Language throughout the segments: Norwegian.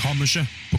Kammerset på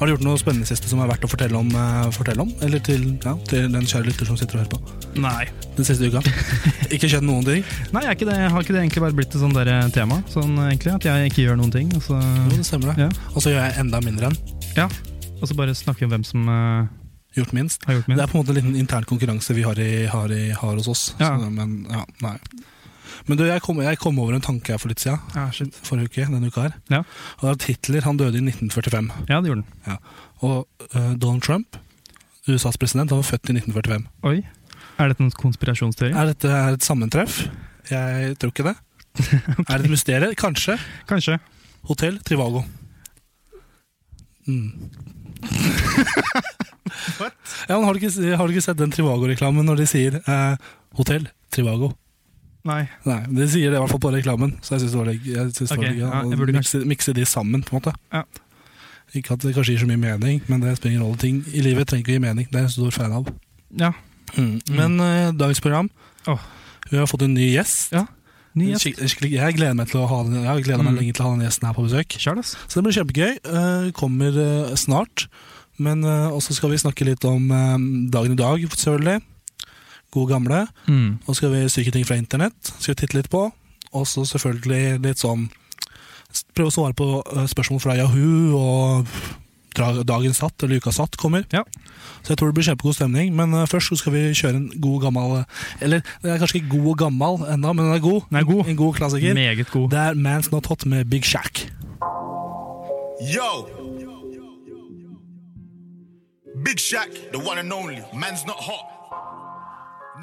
Har du gjort noe spennende siste som er verdt å fortelle om? eh, Fortelle om? Eller til, ja, til den kjære lytter som sitter og hører på? Nei. Den siste uka? Ikke skjedd noen ting? Nei, jeg er ikke det, har ikke det egentlig bare blitt et sånt der tema? Sånn eh, egentlig, At jeg ikke gjør noen ting. Og så, Jo, det stemmer det. ja. Og så gjør jeg enda mindre enn. ja. og så bare snakke om hvem som eh, Gjort minst. har gjort Det min. er på en måte en liten intern konkurranse vi har, i, har, i, har hos oss. Ja. Så, men ja, nei. Men du, jeg kom, jeg kom over en tanke her for litt siden. Ja, ah, shit. forrige uke, denne uka her. Ja. Og det er at Hitler han døde i 1945. ja, det gjorde den. Og eh, Donald Trump, USAs president, han var født i 1945. Oi. Er dette en konspirasjonsteori? Er dette her et sammentreff? Jeg tror ikke det. Er det et mysterium? Kanskje. Kanskje. Hotell Trivago. Mm. ja, men har, du ikke, har du ikke sett den Trivago-reklamen når de sier eh, 'Hotell Trivago'? Nei. Nei, De sier det i hvert fall på reklamen, så jeg syns det var litt- jeg synes det var Ok, litt gøy. ja, jeg å burde mikse, mikse de sammen, på en måte. Ja. Ikke at det kanskje gir så mye mening, men det spiller ingen rolle. Ting i livet trenger ikke å gi mening. Det er jeg en stor fan av. Ja. Men eh, dagens program Åh. Vi har fått en ny gjest. Ja, Ny gjest. Skik- Skikkelig, jeg gleder meg til å ha den Jeg har gledet meg Mm. lenge til å ha den gjesten her på besøk. Sjæl, ass. Så det blir kjempegøy. Eh, kommer eh, snart. Men eh, også skal vi snakke litt om eh, dagen i dag, selvfølgelig. God gamle. Mm. Nå skal vi stryke ting fra internett, skal vi titte litt på. Og så selvfølgelig litt sånn s- Prøve å svare på eh, spørsmål fra Yahoo og dra- Dagen satt eller Uka satt kommer. Ja. Så jeg tror det blir kjempegod stemning. Men eh, først så skal vi kjøre en god gammel eh, Eller den er kanskje ikke god og gammel ennå, men den er god. Den er god. En god klassiker. Meget god. Det er Man's Not Hot med Big Shack. Yo! Big Shaq, the one and only. Man's not hot.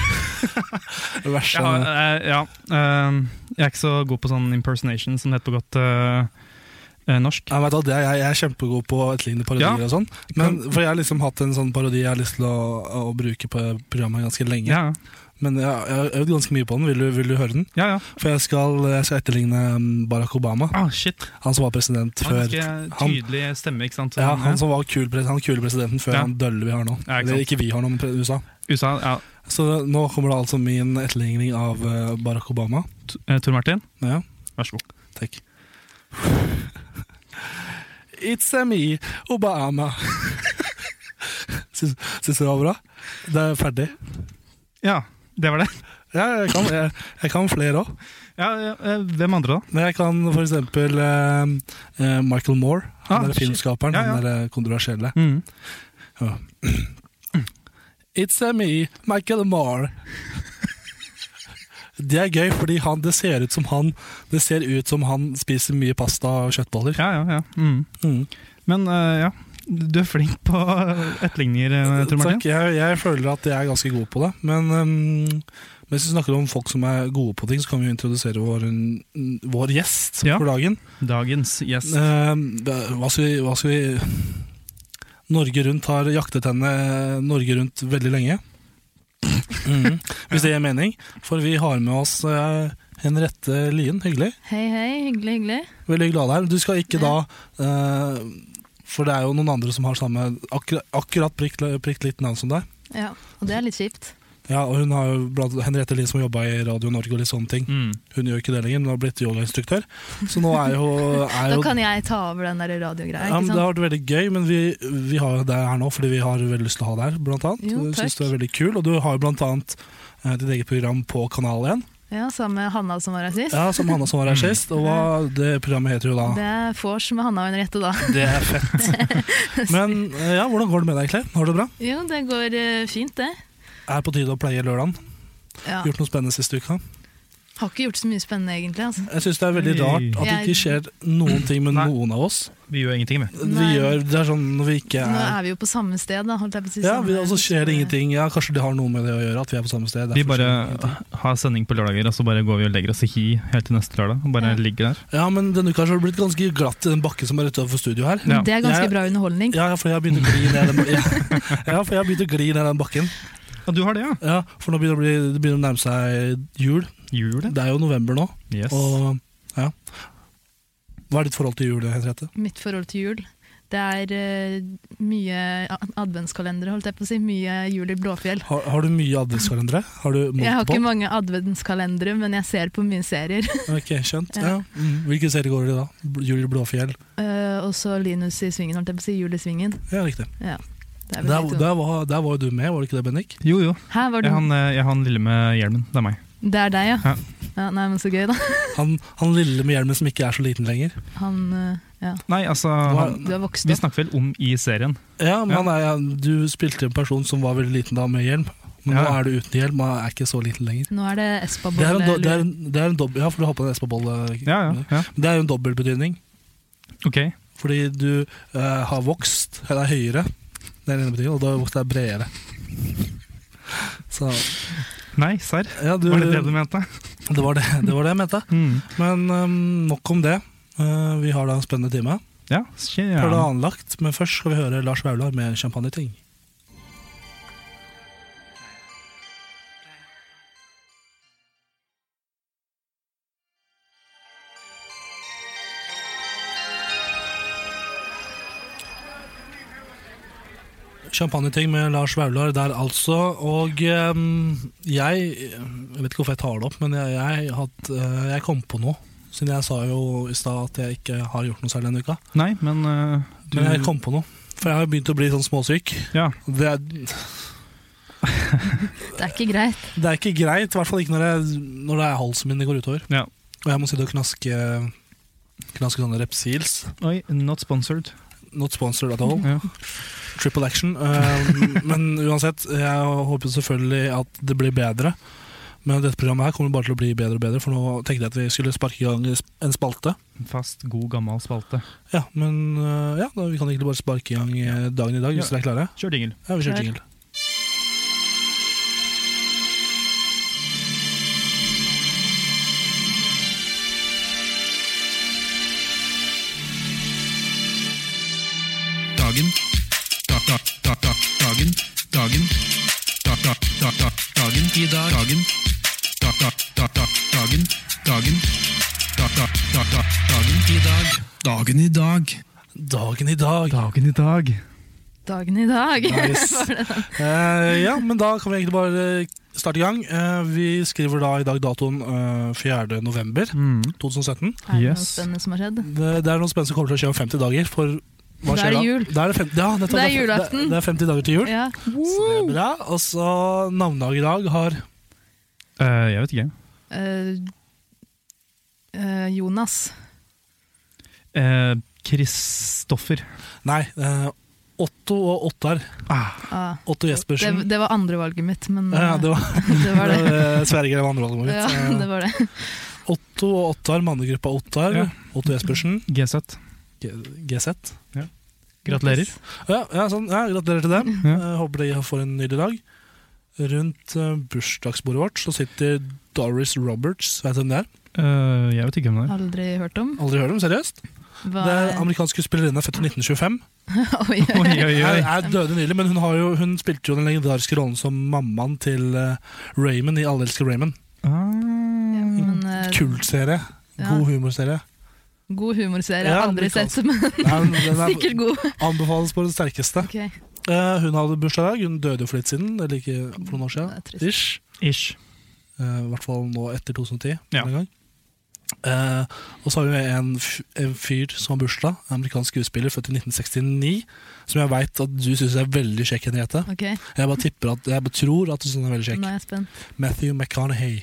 Vær så Jeg, har, eh, ja, eh, jeg er ikke så god på sånn impersonation som det heter på godt eh, eh, norsk. Jeg, vet at jeg, jeg, jeg er kjempegod på å etterligne parodier Ja. og sånn. Men, for jeg har liksom hatt en sånn parodi jeg har lyst til å, å bruke på programmet ganske lenge. Ja, Men jeg, jeg har øvd ganske mye på den. Vil du, vil du høre den? ja. ja. For jeg skal, eh, jeg skal etterligne mm, Barack Obama, Ah, shit. han som var president Han har før. ganske han- tydelig stemme, ikke sant? Ja, han som var kul, pres- han kule presidenten før Mm, Ja. han dølle vi har nå. Ja, ikke Eller sant. ikke vi har nå, men pre- USA. USA, ja. Så nå kommer det altså min etterligning av eh, Barack Obama. T- eh, Tor Martin, Ja. vær så god. Takk. It's a me, Obama. Syns syns du det var bra? Det er ferdig. Ja, det var det. Ja, jeg kan, jeg, jeg kan flere òg. Ja, ja, eh, hvem andre, da? Men jeg kan for eksempel eh, eh, Michael Moore. Han Ah, er shit. filmskaperen. Ja, ja. Han er eh, kontroversielle. Mm. It's a me, Michael Moore. Det er gøy, fordi han, det, ser ut som han, det ser ut som han spiser mye pasta og kjøttboller. Ja, ja, ja. Mm. Mm. Men eh, ja, du er flink på eh, etterligninger, eh, Tor Martin. Takk, jeg, jeg føler at jeg er ganske god på det. Men øhm, mens vi snakker om folk som er gode på ting, så kan vi jo introdusere vår, vår gjest Ja. for dagen. Dagens gjest. Ehm, det- hva, skal vi, hva skal vi Norge Rundt har jaktet henne eh, Norge Rundt veldig lenge. Mhm, hvis det gir mening. For vi har med oss eh, Henriette Lien. Hyggelig. Hei, hei. Hyggelig, hyggelig. Veldig hyggelig å ha deg her. Du skal ikke da eh, For det er jo noen andre som har samme akkurat, akkurat prikt, prikt likt navn som deg. Ja, Og det er litt kjipt. Ja, og hun har jo blant Henriette Lien som jobba i Radio Norge og litt sånne ting. Mm. Hun gjør ikke det lenger, men hun har blitt yogainstruktør. Så nå er jo, er Da jo kan jeg ta over den der radiogreia. ja, men ikke Det sant? har vært veldig gøy, men vi, vi har jo deg her nå fordi vi har veldig lyst til å ha deg her, blant annet. Jo, Jeg synes takk. du er veldig kul, og du har jo blant annet eh, ditt eget program på Kanal 1, Ja, Sammen med Hanna som var her sist. ja, som Hanna som var her sist. Og hva, det programmet heter jo da Det er vors med Hanna og Henriette, da. Det er fett. Men eh, ja, hvordan går det med deg, Clay? Har du det bra? Jo, det går eh, fint, det. Er på tide å pleie lørdagen. Ja. Gjort noe spennende siste uka? Har ikke gjort så mye spennende, egentlig. altså. Jeg syns det er veldig rart at det ikke skjer noen ting med Nei. noen av oss. Vi gjør ingenting, vi. Vi Nei. gjør, det er sånn når vi ikke Nå er er vi jo på samme sted, da. Holdt jeg på å si. Ja, samme- vi, og så skjer det ingenting. Ja, Kanskje det har noe med det å gjøre at vi er på samme sted. Vi derfor bare skjer det ingenting. har sending på lørdager, og så bare går vi og legger oss i hi helt til neste lørdag. Og bare Ja. ligger der. Ja, men denne uka så har det blitt ganske glatt i den bakken som er rett utenfor studio her. Ja. Det er Jeg- ganske bra underholdning. Ja, ja, for jeg har begynt å gli ned den, ja. ja, for jeg har begynt å gli ned den bakken. Ja, du har det, ja? Ja, For nå begynner det å, bli, det begynner å nærme seg jul. Julet. Det er jo november nå, Yes. og ja. Hva er ditt forhold til jul, Henriette? Mitt forhold til jul. Det er eh, mye ad- adventskalendere, holdt jeg på å si. Mye jul i Blåfjell. Har, har du mye adventskalendere? Har du Jeg har multiple? ikke mange adventskalendere, men jeg ser på mine serier. Ok, skjønt. Ja. Ja. Mm. Hvilken serie går det i da? Bl- Jul i Blåfjell? Eh, og så Linus i Svingen, holdt jeg på å si. Jul i Svingen. Ja, riktig. Ja. Det er vel Der, de to. der, var, der var jo du med, var det ikke det, Bennik? Jo, jo. Her var Jeg det er han, eh, jeg er han lille med hjelmen. Det er meg. Det er deg, ja. Ja. ja. nei, men så gøy, da. Han, han lille med hjelmen som ikke er så liten lenger. Han eh, Ja. Nei, altså Hva- han, Du er vokst Vi opp. snakker vel om i serien. Ja, men Ja. han er, Du spilte en person som var veldig liten da, med hjelm. Men nå Ja. er du uten hjelm og er ikke så liten lenger. Nå er det espa Det er en, do, det er Bolle. en, det er en dobbel, ja, for du har på deg en Espa-bolle. Ja, ja, ja. Men Det er jo en dobbeltbetydning. Ok. Fordi du eh, har vokst, eller er høyere, det er den ene betydningen, og du har vokst deg bredere. Så Nei, serr. ja, du, Var det det du mente? det var det, det var det jeg mente. Mm. Men ehm, nok om det. Eh, vi har da en spennende time. Ja, skjer. Planlagt, men først skal vi høre Lars Vaular med Champagneting. Champagneting med Lars Vaular der, altså. Og ehm, jeg Jeg vet ikke hvorfor jeg tar det opp, men jeg, jeg, hatt, eh, jeg kom på noe. Siden jeg sa jo i stad at jeg ikke har gjort noe særlig denne uka. Nei, men eh, du Men jeg kom på noe. For jeg har begynt å bli sånn småsyk. Ja. Det er, det Det er ikke greit. er ikke greit, i hvert fall ikke når, jeg, når det er halsen min det går utover. Ja. Og jeg må sitte og knaske, knaske sånne Repsils. Oi, not sponsored. Not sponsored at all. Ja. Triple action. Eh, men uansett, jeg håper selvfølgelig at det blir bedre. Men dette programmet her kommer bare til å bli bedre og bedre, for nå tenkte jeg at vi skulle sparke i gang en spalte. Fast, god, gammel spalte. Ja, men eh, ja, da, vi kan egentlig bare sparke i gang eh, dagen i dag, hvis Ja. dere er klare. Kjør dingel. Ja, vi Klar. kjører jingle. Dagen. Da, da, da, da, dagen. Dagen. Da, da, da, da, dagen. I dag. Dagen. Da, da, da, da, dagen. Dagen. Da, da, da, da, dagen. I dag. Dagen i dag. Dagen i dag. Dagen i dag. Dagen i dag. Nice. Eh, ja, men da kan vi egentlig bare eh, starte i gang. Eh, vi skriver da i dag datoen eh, 4. november Mm. 2017. Er det noe Yes. spennende som har skjedd? Det, det er noe spennende som kommer til å skje om 50 dager. For hva Da er skjer det da? jul. Da er det, fem, ja, nettopp, Det er det- julaften. Det, det er 50 dager til jul. Ja. Så det er bra. Og så navnedag i dag har Eh, jeg vet ikke. Eh, eh, Jonas. Eh, Kristoffer. Nei, eh, Otto og Ottar. Ah, Otto det, Jespersen. det var andrevalget mitt, men ja, det var, eh, det var det. eh, Sverige eller andre Ja, det mitt. var det. Eh, Otto og Ottar, mannegruppa Ottar. Ja. Otto Jespersen, GZ. G- GZ. Gratulerer. Ja, ja, sånn, ja gratulerer til dem. Ja. Jeg Eh, håper de får en nydelig dag. Rundt eh, bursdagsbordet vårt så sitter Doris Roberts. Vet du hvem det er? Eh, jeg vet ikke hvem det er. Aldri hørt om. Aldri hørt om, seriøst? Hva Det er amerikansk skuespillerinne, født i 1925. Oi. Oi, oi, Hun oi. er døde nylig, men hun, har jo, hun spilte jo den legendariske rollen som mammaen til eh, Raymond i Alle elsker Raymond. Ja, Ah. men, eh, Kul serie. God humorserie. God humorserie. Ja, Aldri sett, amerikansk. men Nei, men Den er sikkert god. anbefales på det sterkeste. Ok. Eh, Eh, hun hadde bursdag i dag. Hun døde jo for litt siden, eller ikke for noen år Det er siden. trist. Ish. Ish. Eh, I hvert fall nå etter 2010. Ja. en gang. Eh, og så har vi en, f- en fyr som har bursdag, en amerikansk skuespiller, født i 1969, som jeg veit at du syns er veldig kjekk, Henriette. Ok, Jeg bare tipper at, jeg bare tror at du syns han er veldig kjekk. nå er jeg spent. Matthew McConaughey.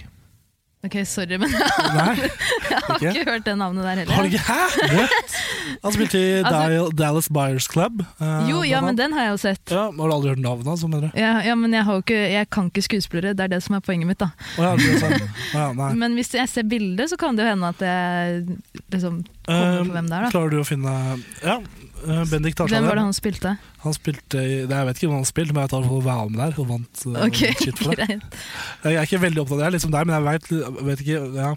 Ok, sorry, men jeg Nei, har ikke hørt det navnet der heller. har du ikke? Hæ? What? Han spilte i Dal- Dallas Buyers Club. eh, Altså- Jo, ja, blant men annet. den har jeg jo sett. ja, Har du aldri hørt navnet hans? hva mener du? Ja, ja men jeg, har jo ikke, jeg kan ikke skuespillere, det er det som er poenget mitt, da. Å ja, det er sant. Å ja, nei. Men hvis jeg ser bilder, så kan det jo hende at jeg liksom kommer Eh, på hvem det er, da. Klarer du å finne Ja, eh, Bendik Tarzan. Hvem var det han spilte? Han spilte i Nei, Jeg vet ikke hvem han spilte, men jeg tar for Valm der. Og vant eh, Ok, shit for det. greit. Jeg er ikke veldig opptatt av det, jeg er liksom der, men jeg vet, jeg vet ikke ja.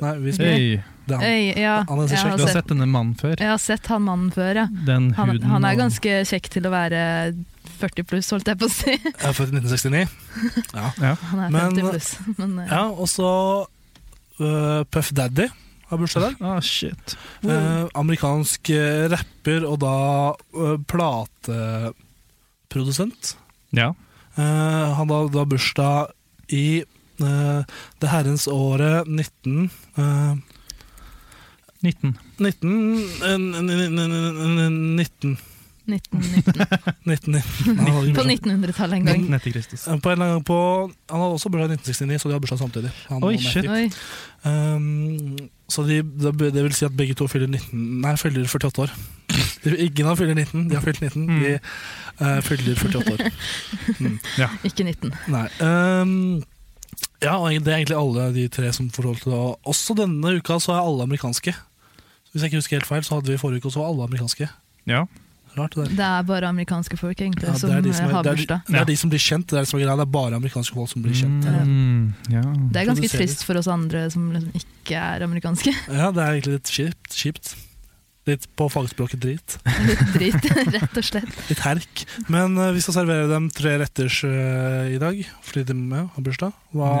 Nei, vi spiller Hey, det er han. Øy, ja, Han er så jeg kjekk. har du har sett, sett denne mannen før? jeg har sett han mannen før, ja. Den Han, huden han er og- ganske kjekk til å være 40 pluss, holdt jeg på å si. Jeg er født i 1969. Han er Men- 50 pluss, men eh, Ja, og så eh, Puff Daddy har bursdag i dag. Ah, shit. Eh, amerikansk eh, rapper og da eh, plateprodusent. Ja. Eh, han hadde da bursdag i eh, det herrens året 19... eh, 19. 19 eh, n- n- n- n- n- 19 1919. 19, 19. Han hadde På bursdag. 1900-tallet en gang. 19 etter Kristus. Eh, På en eller annen på, han hadde også bursdag i 1969, så de har bursdag samtidig. Han Oi, og Matthew. shit. Oi, Um, så de, det det vil si at begge to fyller 19 Nei, fyller 48 år. De, ingen av dem fyller 19, de har fylt 19. Mm. De eh, fyller 48 år. ikke 19. Nei. ehm, ja, og det er egentlig alle de tre som forholdt til det. Og Også denne uka så er alle amerikanske. Hvis jeg ikke husker helt feil, så hadde vi forrige uke også alle amerikanske. Ja. Rart det der. Det er bare amerikanske folk egentlig Ja, som det, er de som eh, er, har det, er, bursdag. de- det er de som blir kjent. Det er, det som er, greia, det er bare amerikanske folk som blir kjent. Mm, ja. Det er ganske produseres. trist for oss andre som liksom ikke er amerikanske. Ja, det er egentlig litt kjipt. kjipt. Litt på fagspråket drit. Litt drit, rett og slett. Litt herk. Men eh, vi skal servere dem tre retters eh, i dag, fordi de ja, har bursdag. Hva,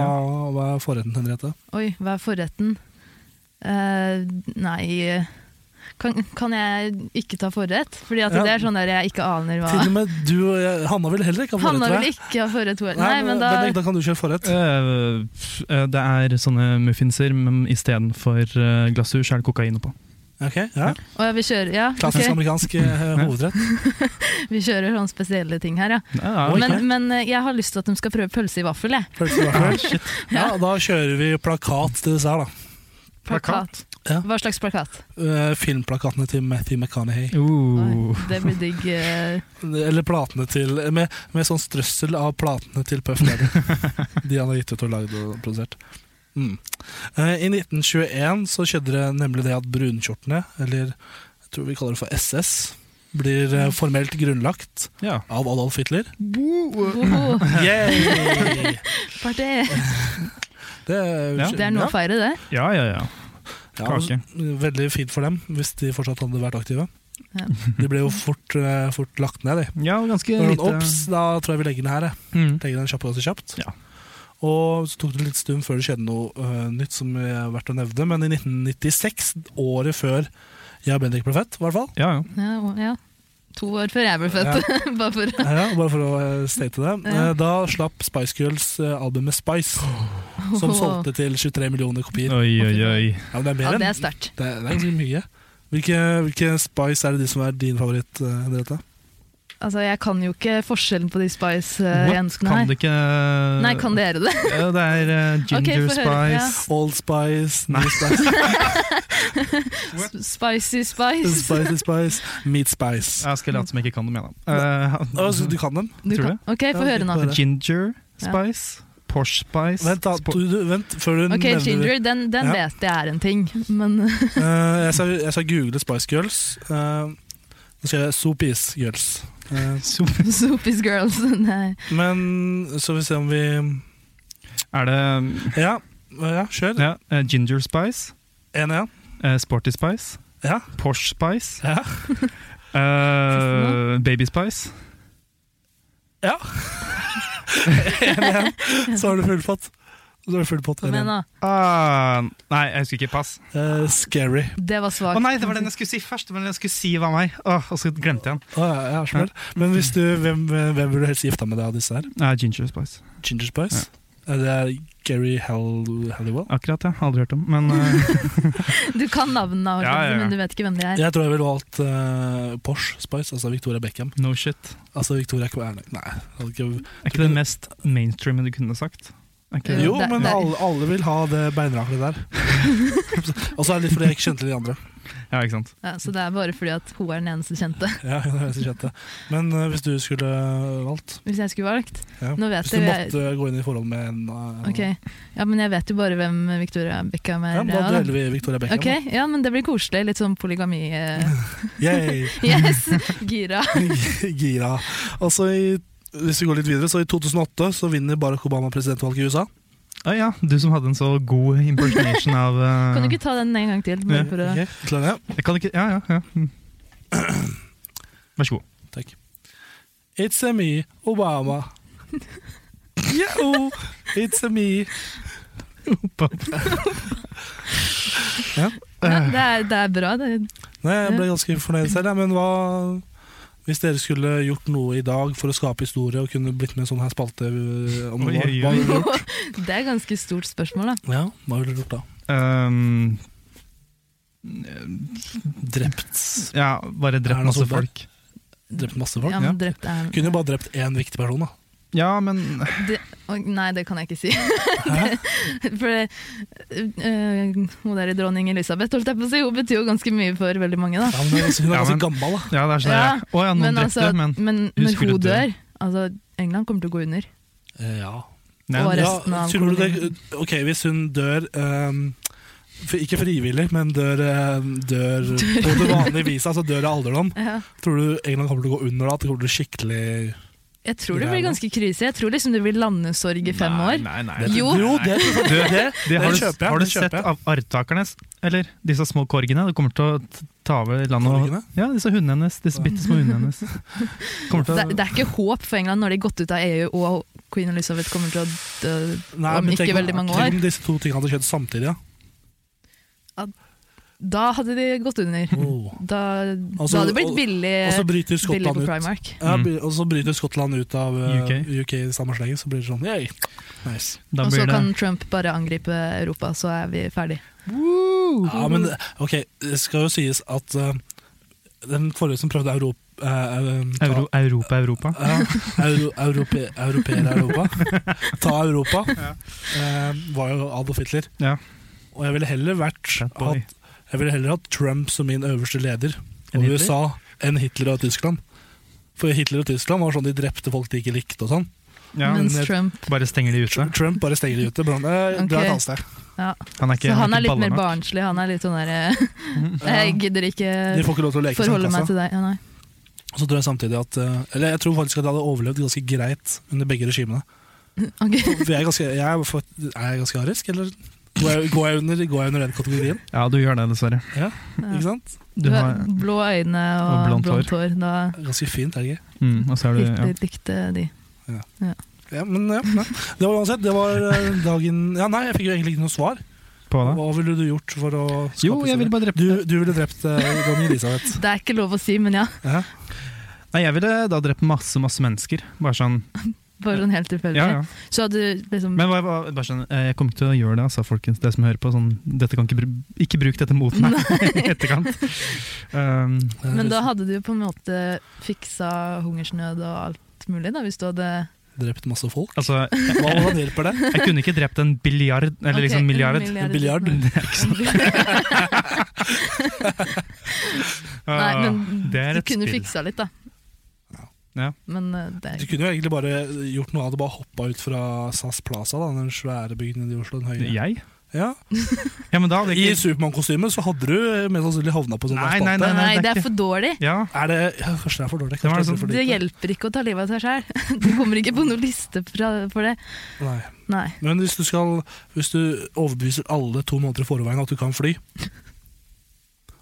hva er forretten, Henriette? Oi, hva er forretten? Eh, nei kan, kan jeg ikke ta forrett? Fordi at Ja. det er sånn der jeg ikke aner hva Til og med du og jeg, Hanna vil heller ikke ha forrett. Hanna tror vil jeg. ikke ha forrett. tror jeg. Nei, men da Bendik, da kan du kjøre forrett. Eh, f- eh, det er sånne muffinser, men istedenfor uh, glasur så er det kokain oppå. Ok, ja. Å ja, vi kjører. Ja, Klassisk ok. amerikansk eh, hovedrett. Vi kjører sånne spesielle ting her, ja. Det er- Oi. Men, men eh, jeg har lyst til at de skal prøve pølse i vaffel, jeg. Følelse i hvert fall. Ja, da kjører vi plakat til dessert, da. Plakat. Ja. Hva slags plakat? Eh, filmplakatene til Matthew McConaughey. Uh, Oi, det blir digg. eh, Eller platene til Med, med sånn strøssel av platene til Puff Daddy. De han har gitt ut og lagd og produsert. Mm. Eh, I 1921 så skjedde det nemlig det at brunkjortene, eller jeg tror vi kaller det for SS, blir eh, formelt grunnlagt ja. av Adolf Hitler. woho, Yay! party. Det, er- Ja. Det er noe å feire, det. ja, ja, ja. Ja, Kake. Veldig fint for dem, hvis de fortsatt hadde vært aktive. Ja. De ble jo fort, eh, fort lagt ned, de. Ja, og ganske Men lite eh, Ops, da tror jeg vi legger den her. jeg. Mm. Legger den kjapt og kjapt. Ja. Og så tok det litt stund før det skjedde noe eh, nytt som er verdt å nevne, men i 1996, året før jeg og Bendik ble født, i hvert fall. Ja, ja. Ja, og- ja. To år før jeg ble født. Bare for Ja, ja, bare for å eh, state det. Ja. Eh, Da slapp Spice Girls eh, albumet Spice, som solgte til 23 millioner kopier. Oi, oi, oi. Ja, men det er mer Ja, det er enn sterkt. Det er det er ganske mye. Hvilke, hvilke Spice er det de som er din favoritt, eh, Henriette? Altså, jeg kan jo ikke forskjellen på de What? Spice-jentene Kan her. du ikke Nei, kan dere det? Ja, Det er eh, Ginger Ok, få høre, ja. Spice Old Spice, New Spice, Spicy Spice. Spicy Spice, Meat Spice. Jeg skal late som jeg ikke kan dem, jeg, da. Å, Eh, så du kan dem? Du Tror kan. Ok, få høre nå. Bare- Ginger Ja. Spice, Porsche Spice Vent, da, Spo- du, du, vent før du Ok, nevner Ginger, den, den Ja. vet jeg er en ting, men Eh, jeg, skal, jeg skal google Spice Girls. Eh, nå skal jeg Soapis Girls. Eh, So- Soupy's Girls, nei. men så får vi se om vi Er det Ja, ja kjør. ja, eh, Ginger Spice, Én igjen. eh, Sporty Spice, Ja. Porsche Spice, Ja. eh, Baby Spice ja. En igjen. Så har du fullfått. Så er det full pott. Kom igjen, da. Ah, nei, jeg husker ikke. Pass. Eh, scary. Det var Å svakt. nei, det var den jeg skulle si først! Det var den jeg skulle si var meg. Åh, og så glemte jeg den. Å, ja, ja, smell. Men hvis du, hvem, hvem ville du helst gifta med deg av disse her? Nei, Ginger Spice. Ginger Spice? Eh, Det er Gary Hall Halliwell? Akkurat, ja. Aldri hørt om. Men eh, Du kan navnene, Arthur, Ja, ja, ja. men du vet ikke hvem de er. Jeg tror jeg ville valgt eh, Porsche Spice, altså Victoria Beckham. no shit. Altså Victoria Kverne. Nei. jeg hadde ikke- Er ikke det mest mainstreamen du kunne sagt? Er ikke det? Jo, der- men der. alle, alle vil ha det beinraklet der. Og så er det litt fordi jeg ikke kjente til de andre. Ja, ikke sant. Ja, så det er bare fordi at hun er den eneste kjente. Ja, det er jeg som kjente. Men eh, hvis du skulle valgt Hvis jeg skulle valgt. Ja. Nå vet Hvis du jeg- måtte gå inn i forhold med en eh, Ok, ja, men jeg vet jo bare hvem Victoria Beckham er. Ja, men Da ja, da. dueller vi Victoria Beckham. Ok, ja, men det blir koselig. Litt sånn polygami. eh, da. Yay. Yes! Gira. Gira. Altså, i, hvis vi går litt videre, så i 2008 så vinner Barack Obama presidentvalget i USA. Å ja, du som hadde en så god impersonation av eh, Kan du ikke ta den en gang til? Ja, Bare for å... Ok, klarer jeg? Jeg kan ikke Ja, ja. ja. Mm. Vær så god. Takk. It's a me, Obama. Yo, it's a me. Ja, det, er, det er bra. Det er... Nei, jeg ble ganske fornøyd selv, jeg, men hva hvis dere skulle gjort noe i dag for å skape historie og kunne blitt med i en sånn her spalte øh, om Oi, noe, oi, hva oi. ville dere gjort? det er ganske stort spørsmål, da. Ja, hva ville dere gjort da? Ehm, Drept, ja, bare drept Erna masse Solberg. folk. drept masse Ja, folk? men drept er... Kunne jo bare drept én viktig person, da. Ja, men det... Å, Nei, det kan jeg ikke si. For det- eh, hun der i dronning Elisabeth, holdt jeg på å si, hun betyr jo ganske mye for veldig mange, da. Ja, men, altså, hun er Ja, ganske men- gammel, da. Ja, det er sånn Ja, der, Å ja, noen Men drepte, altså, men men hun når skulle hun dø. dø. dør Altså, England kommer til å gå under. Eh, Ja. Nei, og det- ja resten av tror du det, kolonien. ok, hvis hun dør ehm, for, Ikke frivillig, men dør, ehm, dør på det vanlige viset, altså dør av alderdom, Ja. tror du England kommer til å gå under da? At det kommer til å bli skikkelig Jeg tror det Greier blir nå. ganske krise. Jeg tror liksom det blir landesorg i fem år. Nei, nei, Det- nei. Jo. det, Du, det, har, det du, kjøper jeg, har du det kjøper sett jeg. av arvtakernes, eller disse små korgene? Det kommer til å t- ta over landet. og- Korgene? Ja, disse hundene hennes. Disse bitte små hundene hennes. Kommer til Det, å det er ikke håp for England når de har gått ut av EU og queen Elizabeth kommer til å dø Nei, om men ikke tenk veldig mange tenk år. om disse to tingene hadde skjedd samtidig, Mm. da. Da hadde de gått under. Da, Mm. Altså, da hadde det blitt og- billig, Oh. Og så bryter billig Skottland på ut. Primark. Ja, Mm. by- og så bryter Skottland ut av eh, UK. UK i samme slengen, så blir det sånn yay. Nice. da Og blir så det, kan Trump bare angripe Europa, så er vi ferdig. Uh-huh. Ja, men eh, ok, det skal jo sies at eh, den forrige som prøvde Europa Euro, Europa, Europa. Ja, Euro, europe, europeer i Europa. Ta Europa. Eh, var jo Adolf Hitler. Ja. Og jeg ville heller vært Fat boy. hatt, Jeg ville heller hatt Trump som min øverste leder Enn og Hitler? USA enn Hitler og Tyskland. For Hitler og Tyskland var sånn de drepte folk de ikke likte og sånn. Ja, Mens men- Trump bare stenger de ute. Trump bare stenger de ute. Bare, sånn, eh, Dra Ok. et annet sted. ja. Han er ikke, Så han er ikke litt baller mer nok. barnslig. Han er litt sånn der eh, Jeg gidder ikke De får ikke altså. lov til å leke i forholde meg sandkassa. til deg. Ja, nei. Og så tror jeg samtidig at eh, Eller jeg tror faktisk at jeg hadde overlevd ganske greit under begge regimene. Ok. For jeg er ganske, jeg er, fakt- er jeg ganske arisk, eller? Går jeg, går, jeg under, går jeg under den kategorien? Ja, du gjør det, dessverre. Ikke sant? Du Du har, har blå øyne og, og blondt blondt hår. Da Ganske fint, er det ikke? mm, og så er du ja. Hitler likte de. Ja, men ja, nei. Det var uansett, det var eh, dagen Ja, nei, jeg fikk jo egentlig ikke noe svar. på det. Hva ville du gjort for å skape Jo, jeg ville historie? bare drept Du, du ville drept eh, dronning Elisabeth. Det er ikke lov å si, men ja. Ja. Nei, jeg ville da drept masse, masse mennesker. Bare sånn Bare sånn helt tilfeldig. Ja, ja. Så hadde du liksom Men hva- hva- bare sånn, eh, jeg kommer ikke til å gjøre det, altså, folkens. Det som hører på, sånn, dette kan ikke, bru- ikke bruk dette mot meg i etterkant. Um, Men da hadde du på en måte fiksa hungersnød og alt mulig, da, hvis du hadde Eh, Drept masse folk. altså, jeg, Hva, hva hjelper det? jeg kunne ikke drept en biljard, eller Ok, liksom en milliard. Biljard. Nei. Nei, Ah, men det er du et kunne spill. fiksa litt, da. Ja. Men eh, det Du er kunne jo egentlig bare gjort noe av det, bare hoppa ut fra SAS Plaza, da, den svære bygden i Oslo. Den høye. Jeg? Ja. Ja, men da hadde I jeg ikke Supermann-kostyme så hadde du mest sannsynlig havna på sånn Nei, spalte. nei, Nei, det det er er for dårlig. Ja, Er det ja, Kanskje det er for dårlig. Det var Kanskje det er for Det lite. hjelper ikke å ta livet av seg sjæl. Du kommer ikke på noen liste fra- for det. Nei. Nei. Men hvis du, skal, hvis du overbeviser alle to måneder i forveien at du kan fly,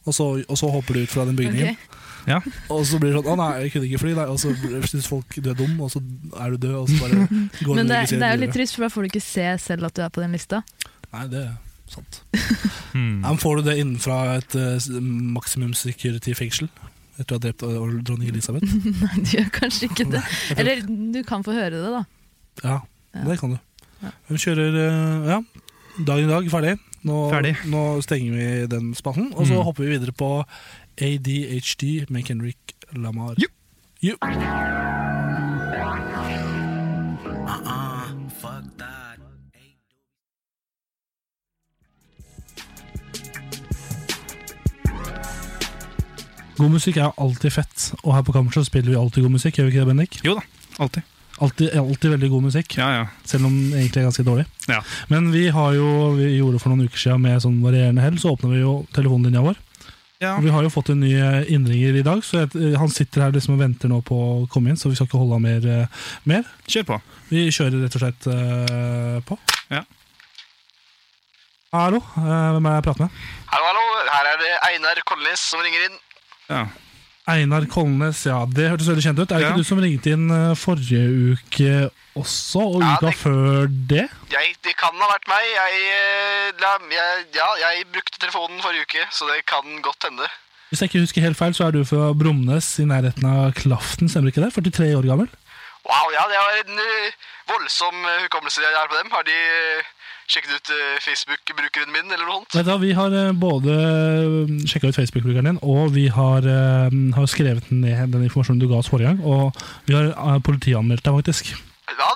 og så, og så hopper du ut fra den bygningen ok. Ja. Og så blir det sånn 'Å nei, jeg kunne ikke fly', nei. og så syns folk du er dum, og så er du død, og så bare går Men du det, og er- det er jo litt videre. trist, for da får du ikke se selv at du er på den lista. Nei, det er sant. Hmm. Ja, men får du det innenfra et uh, maksimum security-fengsel? Etter å ha drept uh, dronning Elisabeth? Nei, du gjør kanskje ikke det. Jeg tror- Eller du kan få høre det, da. Ja, Ja. det kan du. Ja. Vi kjører eh, ja, dagen i dag, ferdig. Nå, Ferdig. nå stenger vi den spalten, og så Mm. hopper vi videre på ADHD med Kendrick Lamar. Jo. Jo. God musikk er alltid fett, og her på Kammerset spiller vi alltid god musikk. Gjør vi ikke det, Bendik? Jo da, alltid. Alltid, alltid veldig god musikk. Ja, ja. Selv om det egentlig er ganske dårlig. Ja. Men vi har jo, vi gjorde for noen uker siden med sånn varierende hell, så åpner vi jo telefonlinja vår. Ja. Og vi har jo fått en ny eh, innringer i dag, så jeg, han sitter her liksom og venter nå på å komme inn, så vi skal ikke holde han mer. eh, mer. Kjør på. Vi kjører rett og slett eh, på. Ja. Hallo, eh, hvem er jeg prater med? Hallo, hallo. Her er det Einar Kolnes som ringer inn. Ja. Einar Kolnes, ja. Det hørtes veldig kjent ut. Er det Ja. ikke du som ringte inn eh, forrige uke også, og Ja, uka det- før det? Jeg, det kan ha vært meg. Jeg, eh, la, jeg, ja, jeg brukte telefonen forrige uke, så det kan godt hende. Hvis jeg ikke husker helt feil, så er du fra Bromnes i nærheten av Klaften, stemmer ikke det? 43 år gammel? Wow, ja, det var en eh, voldsom eh, hukommelse jeg har på dem. Har de eh, sjekket ut eh, Facebook-brukeren min, eller noe sånt? Vet du, hva, Vi har eh, både sjekka ut Facebook-brukeren din, og vi har, eh, har skrevet ned den informasjonen du ga oss forrige gang. Og vi har eh, politianmeldt deg, faktisk. Hva?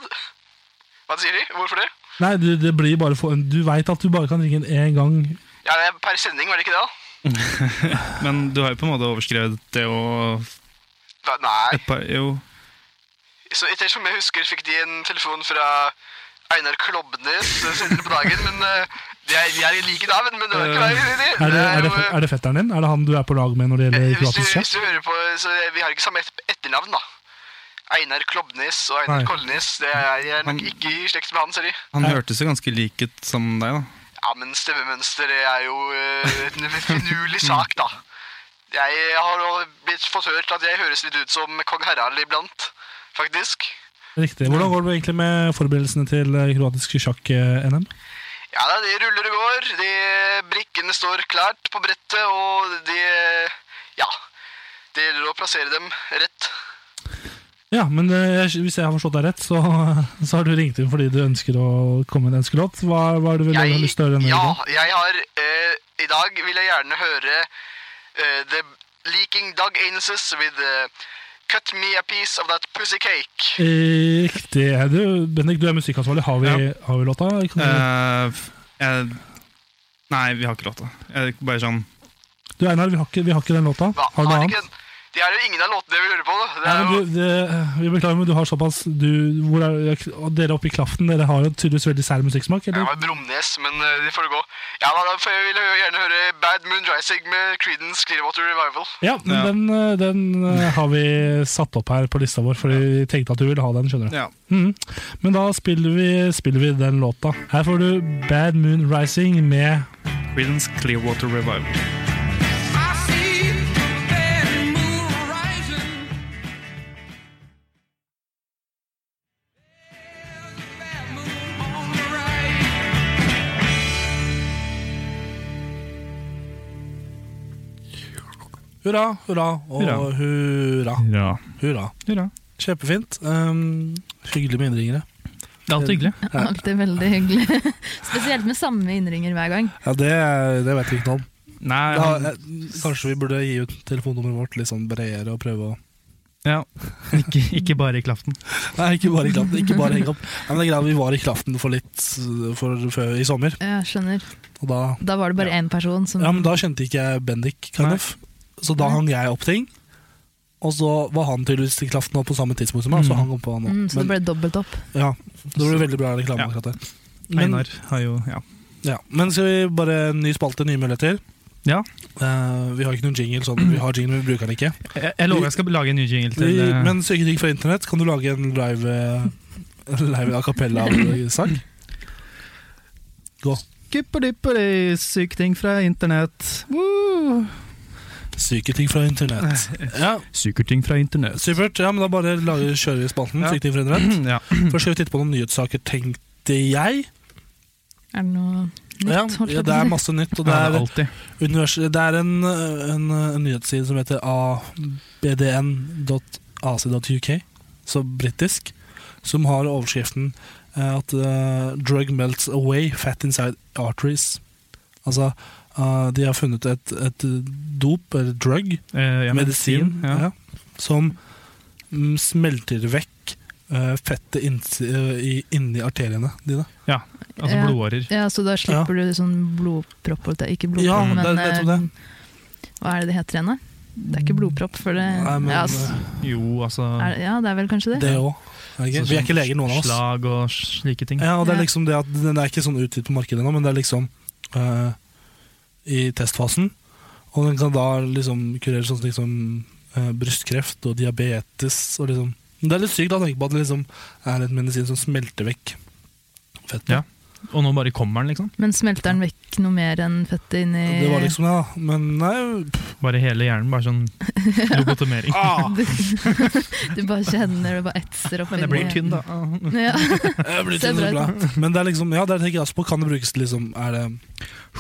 Hva sier de? Hvorfor det? Nei, du, det blir bare for, du veit at du bare kan ringe inn én gang. Ja, det er per sending, var det ikke det? da? Men du har jo på en måte overskrevet det og Hva- Nei. et par, Jo. Så etter som jeg husker, fikk de en telefon fra Einar Klobnes eh, senere på dagen, men eh, de er, de er i like navn, men det var ikke meg. det- Er det, er, det, jo, eh, er det fetteren din? Er det han du er på lag med når det Eh, gjelder Hvis du, kroatisk hvis du hører på, så Vi har ikke samme et etternavn, da. Einar Klobnes og Einar Nei. Kolnes. Det er, jeg er Han- nok ikke i slekt med han, sorry. Han hørtes jo ganske lik ut som deg, da. Ja, men stemmemønster det er jo eh, en finurlig sak, da. Jeg har jo blitt fått hørt at jeg høres litt ut som kong Harald iblant, faktisk. Riktig. Hvordan går det egentlig med forberedelsene til eh, kroatisk eh, sjakk-NM? Ja da, de ruller og går. De brikkene står klart på brettet, og de Ja. Det gjelder å plassere dem rett. Ja, men eh, jeg, hvis jeg har forstått deg rett, så, så har du ringt inn fordi du ønsker å komme med en ønskelåt. Hva, hva er det du vil ha lyst til å høre? denne ja, uka? jeg har eh, I dag vil jeg gjerne høre eh, The Leaking Dog Anuses with eh, Cut Me A Piece Of That Pussy Cake. Eh, Riktig. Du, Bendik, du er musikkansvarlig. Har vi, Ja. har vi låta? Kan du- Eh, f- jeg, nei, vi har ikke låta. Jeg, bare sånn Du, Einar, vi har ikke, vi har ikke den låta. Hva, har du noe har de ikke annet? den? De har jo ingen av låtene jeg vil høre på. da. Det Nei, er men jo, du, det, vi beklager, men du har såpass du, hvor er, jeg- og Dere oppe i Klaften dere har jo tydeligvis veldig sær musikksmak. det Eller? var Bromnes, men eh, det får det gå. Ja, da, da får jeg vil jeg gjerne høre Bad Moon Rising med Creedence Clearwater Revival. Ja, men Ja. Den, eh, den eh, har vi satt opp her på lista vår, for vi tenkte at du ville ha den. skjønner du Ja. Mhm. Men da spiller vi, spiller vi den låta. Her får du Bad Moon Rising med Creedence Clearwater Revival. Hurra, hurra og Hurra. hurra. Hurra. Ja. Hurra. Kjempefint. Um, hyggelig med innringere. Det er alltid hyggelig. Alltid veldig hyggelig. Spesielt med samme innringer hver gang. Ja, Det, det vet vi ikke noe om. Nei, Da, han, eh, kanskje vi burde gi ut telefonnummeret vårt litt sånn bredere og prøve å ja. ikke, ikke bare i klaften. Nei, ikke bare i klaften. Ikke bare henge opp. Nei, men det er greit, Vi var i klaften for litt eh, for, før i sommer, Ja, skjønner. og da Da var det bare én person som Ja, men da kjente ikke jeg Bendik, kind Nei. of. Så da hang jeg opp ting. Og så var han tydeligvis i klaften nå på samme tidspunkt som meg. og Så Mm. hang opp han nå. mm, Så det Men, ble dobbelt opp. ja, det ble veldig bra reklame. Ja. akkurat der. Men, Einar har jo ja. ja. men skal vi bare ny spalte, nye muligheter? Ja. Eh, vi har ikke noen jingle, sånn. vi har jingle, men vi bruker den ikke. Jeg, jeg lover jeg skal lage en ny jingle Vi, til eh, men søker ting fra internett, kan du lage en live, eh, live a cappella-sang? Skipperdipperdi, syk ting fra internett. Woo! Syke ting fra internett. Ja, Sykerting Eh, fra internett. supert. Ja, men da bare lager, kjører vi spalten. Ja. Syke ting fra internett. Ja. Først skal vi titte på noen nyhetssaker, tenkte jeg. Er det noe nytt? Ja, holdt ja, jeg på det å er si? masse nytt. Og Det det er det er, alltid. univers, det er en, en, en nyhetsside som heter abdn.ac.uk, så britisk, som har overskriften eh, at eh, 'drug melts away fat inside arteries'. Altså, eh, de har funnet et, et dop, eller drug, Eh, ja, medisin, Ja. ja. som mm, smelter vekk eh, fettet inns- eh, i- inni arteriene dine. Altså Ja. blodårer. Ja, så da slipper du sånn blodpropp, holdt jeg Ikke blodpropp, Ja, det er men nettopp det. Mm. eh, hva er det det heter igjen, da? Det er ikke blodpropp, for det Nei, men, eh, ja, s- Jo, altså er, det- ja, det er vel kanskje det? Det òg. Vi er ikke leger, noen av oss. sånn Slag og slike ting. Ja, og det er Ja. liksom det at Den er ikke sånn utvidet på markedet nå, men det er liksom eh, i testfasen. Og den kan da liksom kurere sånn ting som eh, brystkreft og diabetes og liksom Men Det er litt sykt å tenke på at det liksom er en medisin som smelter vekk fettet. Ja. Og nå bare kommer den, liksom. Men smelter den vekk noe mer enn fettet inni Det var liksom det, da. Men nei, Bare hele hjernen. Bare sånn lobotomering. Ah! du, du bare kjenner det bare etser opp Men det inni- blir tynn, da. Ja. Jeg blir Ser ikke så bra bra. Men det er liksom, ja, der tenker jeg også på, kan det brukes til liksom, er det,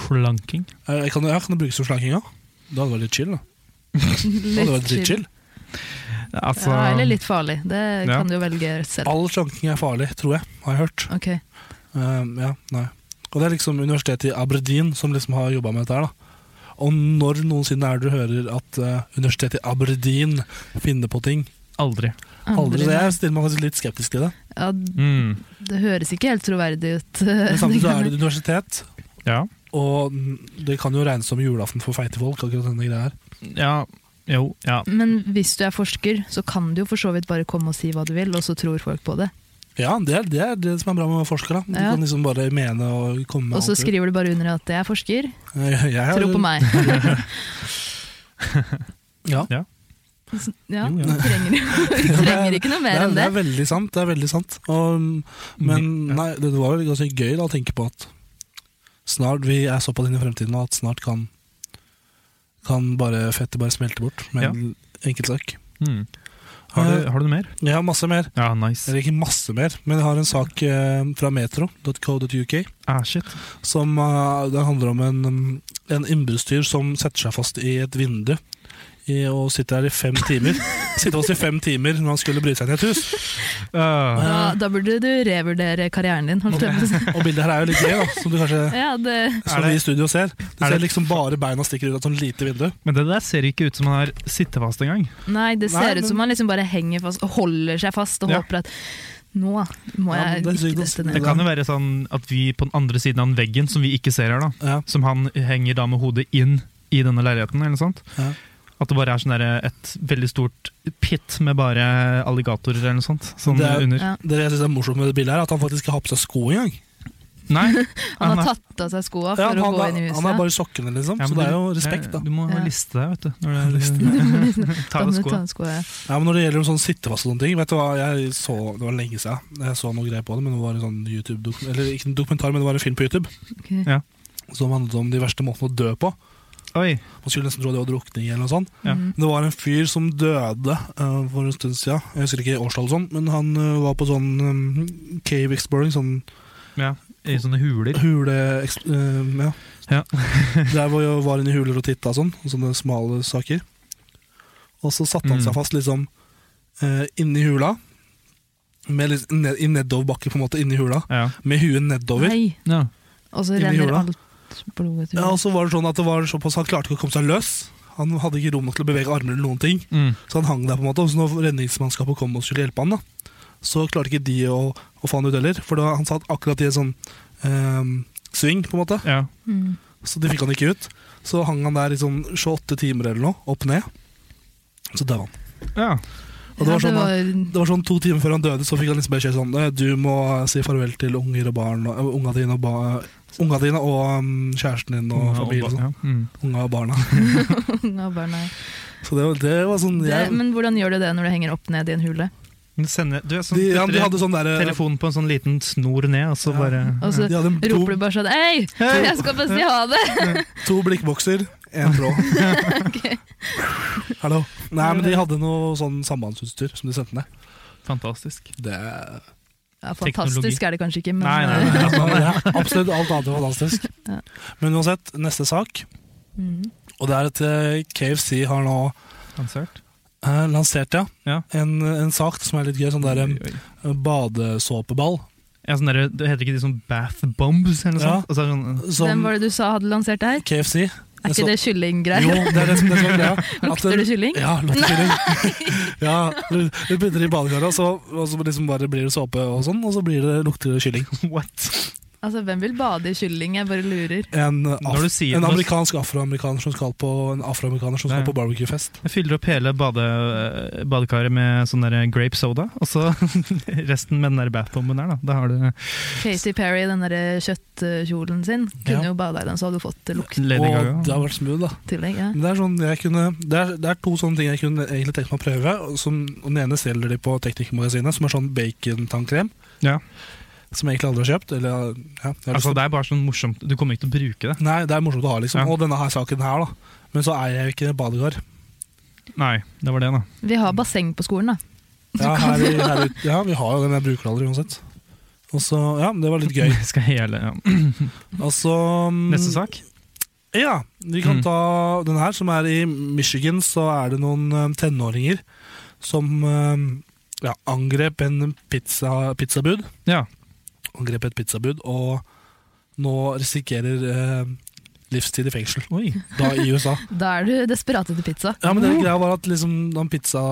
Slanking. er, kan, det, ja, kan det brukes som slanking, ja? Det hadde vært litt chill, da. Det hadde vært Litt litt chill. chill. Altså, Ja, eller litt farlig. Det Ja. kan du jo velge selv. All slanking er farlig, tror jeg, har jeg hørt. Ok, Ehm, ja, nei. Og det er liksom universitetet i Aberdeen som liksom har jobba med dette her, da. Og når noensinne er det du hører at eh, universitetet i Aberdeen finner på ting? Aldri. Aldri. Så Aldri. jeg stiller meg faktisk litt skeptisk til det. Ja, Mm. det høres ikke helt troverdig ut. Men samtidig så er det et universitet, Ja. og det kan jo regnes som julaften for feite folk, akkurat denne greia her. ja. Jo. Ja. Men hvis du er forsker, så kan du jo for så vidt bare komme og si hva du vil, og så tror folk på det. Ja, det er det, er det som er bra med forskere. da. De Ja. kan liksom bare mene og komme med Og så alt de vil. skriver du bare under at jeg er forsker, Jeg, jeg, tro på meg. Ja. Ja, Jo, ja. du trenger, du trenger ikke noe Det mer er, enn det det. er veldig sant. det er veldig sant og, Men Ja. nei, det var vel ganske gøy da, å tenke på at snart vi er såpass inn i fremtiden nå at snart kan, kan bare fettet bare smelte bort med Ja. en enkel sak. Mm. Har, du, har du noe mer? Jeg har masse mer. Eh, Ja, nice. Eller ikke masse mer, men jeg har en sak eh, fra metro.co.uk Ah, shit. som eh, det handler om en, um, en innbruddstyr som setter seg fast i et vindu i, og sitter her i fem timer. Sitter fast i fem timer når han skulle bryte seg inn i et hus. Ah, Da, da burde du revurdere karrieren din, holdt jeg på å si. Og bildet her er jo litt gøy, da, som du kanskje Ja, det, som Er det- vi i studio ser. Du er ser det- liksom bare beina stikker ut av et sånt lite vindu. men det der ser ikke ut som han har sittefast engang. nei, det Nei, ser ut som men- man liksom bare henger fast og holder seg fast og Ja. håper at nå må Ja, jeg men det er ikke sykt å dette Det ned. kan jo være sånn at vi på den andre siden av den veggen, som vi ikke ser her, da, Ja. som han henger da med hodet inn i denne leiligheten, eller noe sånt. Ja. At det bare er sånn der, et veldig stort pit med bare alligatorer eller noe sånt. Sånn Det er- under. Ja. Det jeg synes er morsomt med det bildet, her er at han faktisk ikke har på seg sko engang. Nei, Han han er- har tatt av seg skoa Ja, for han, å gå han, inn i han er huset. bare i sokkene, liksom. Ja, så men det er du- jo respekt, da. Du må Ja. liste deg, vet du. Når det Ta Da av må du ta skoene. av skoa, ja. Ja, men Når det gjelder sånn sittefast og sånne ting Vet du hva, jeg så, Det var lenge siden jeg så noe greier på det, men det var en sånn YouTube Eller ikke en dokumentar, men det var en film på YouTube Ok. som handlet om de verste måtene å dø på. Oi. Man skulle nesten tro det var drukning eller noe sånt. Ja. Mm. Det var en fyr som døde eh, for en stund siden. Jeg husker ikke årstallet, og sånn, men han eh, var på sånn eh, cave exploring, sånn Ja. I sånne huler. hule... eks- eh, ja. Ja. Der hvor jeg var inne i huler og titta og sånn, og sånne smale saker. Og så satte han Mm. seg fast liksom eh, inni hula, med litt ned, i nedoverbakke på en måte, inni hula, Ja. med huet nedover. Nei, ja. og så Inni renner jorda. alt blodet ut. Ja, og så var det sånn at det var såpass, han klarte ikke å komme seg løs. Han hadde ikke rom nok til å bevege armer eller noen ting. Mm. Så han hang der på en måte, og så når redningsmannskapet kom og skulle hjelpe han, da, så klarte ikke de å, å få han ut heller, for da, han satt akkurat i en sånn ehm, sving, på en måte, ja. Mm. så de fikk han ikke ut. Så hang han der i sånn 28 timer eller noe, opp ned, så døde han. ja. Og det var sånn, ja, det Det var sånn To timer før han døde, så fikk han liksom beskjed sånn «Eh, Du må si farvel til unger og barn og, eh, unga dine og, ba, unga dine og mm, kjæresten din og familien. og Sånn. Ja. Mm. Unga og barna. var- ja, bare nei. Så det, var- det var sånn det, jeg, Men hvordan gjør du det når du henger opp ned i en hule? Men Sende, du er sånn, de, ja, putter de hadde sånn der, eh, telefonen på en sånn liten snor ned, og så Ja. bare Og så de hadde to, roper du bare sånn Hei, jeg skal bare si ha det! to blikkbokser, En tråd. Hallo. Nei, men de hadde noe sånn sambandsutstyr som de sendte ned. Fantastisk. Det Ja, fantastisk Teknologi. er det kanskje ikke, men eh, Nei, nei, nei. ja, Absolutt alt annet enn fantastisk. Ja. Men uansett, neste sak. Mhm. Og det er at eh, KFC har nå Konsert. eh, lansert ja, Ja. en, en sak som er litt gøy. Sånn der em, Oi, oi. badesåpeball. Ja, sånn der, det heter ikke de sånn bath bombs eller noe Ja. sånt? Og så er det sånn, Hvem Som var det du sa hadde lansert det her? KFC. Er ikke det Jo, kyllinggreier? det er det som det som er greia. At Lukter det kylling? Ja, lukter kylling. ja, du, du putter det i badekaret, og så, og så liksom bare blir det såpe og sånn, og så blir det, lukter det kylling. sånn, what? Altså, hvem vil bade i kylling? Jeg bare lurer. En, eh, Når af du sier- en når- amerikansk afroamerikaner som skal på En afroamerikaner som skal Ja. på barbecuefest. Jeg fyller opp hele bade, eh, badekaret med sånn der grape soda, og så resten med den der bath bomben der, da. Da har du Katy Perry, den der eh, kjøttkjolen sin, kunne jo bada i den, så hadde du fått eh, lukt Lady Og Gaga. det har vært smooth, da. i tillegg. Ja. Men det er, sånn jeg kunne, det, er, det er to sånne ting jeg kunne egentlig tenkt meg å prøve. og Som, og den ene selger de på Teknikkmagasinet, som er sånn bacontannkrem. Ja. Som jeg egentlig aldri har kjøpt. Eller, ja, jeg har lyst Altså, til- det er bare sånn morsomt. Du kommer ikke til å bruke det. Nei, det er morsomt å ha, liksom. Ja. Og denne her saken her, da. Men så eier jeg jo ikke badekar. Nei, det var det, da. Vi har basseng på skolen, da. Ja, her, i- her, i- ja, vi har jo den, jeg bruker den aldri uansett. Og så, ja, det var litt gøy. Skal hele, ja. Og så mm, Neste sak. Ja, vi kan Mm. ta den her, som er i Michigan. Så er det noen eh, tenåringer som eh, ja, angrep en pizza, pizzabud. Ja. Angrep et pizzabud, og nå risikerer eh, livstid i fengsel. Oi. Da i USA. Da er du desperat etter pizza. Uh, Ja, men det greia var at liksom, den pizza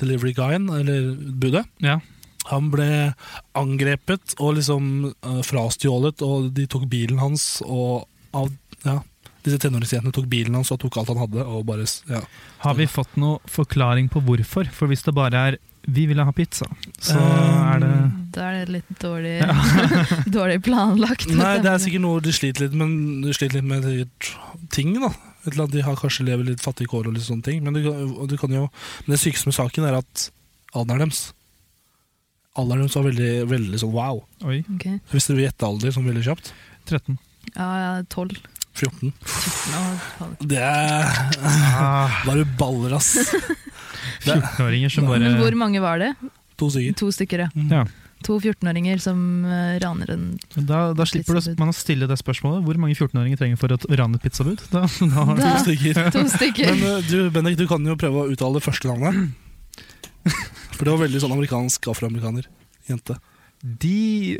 delivery guyen, eller budet, Ja. han ble angrepet og liksom eh, frastjålet, og de tok bilen hans, og av, ja, disse tenåringsjentene tok bilen hans og tok alt han hadde, og bare, s- ja. Har vi fått noe forklaring på hvorfor? For hvis det bare er 'vi ville ha pizza', så Um, er det Da er det litt dårlig, dårlig planlagt. Nei, det er sikkert noe de sliter litt, men de sliter litt med sikkert ting, da. Et eller annet, de har kanskje lever litt fattige kår og litt sånne ting, men, du, kan- og du kan jo, men det sykeste med saken er at alderen deres, alderen deres var veldig, veldig sånn wow. Oi. Ok. Hvis dere vil gjette alder sånn veldig kjapt 13. Ja, ja, 12. 14. 14 og et halvt. Det er Ah, bare baller, ass. 14-åringer som bare Men hvor mange var det? To stykker. To stykker, ja. Mm. ja. To 14-åringer som eh, raner en Da, da slipper du, Pizzabud. man å stille det spørsmålet. Hvor mange 14-åringer trenger for å t- rane et pizzabud? Da, da har du Da- To stykker. To stykker! Men eh, du, Bendik, du kan jo prøve å uttale det første navnet. For det var veldig sånn amerikansk afroamerikaner. Jente. Di,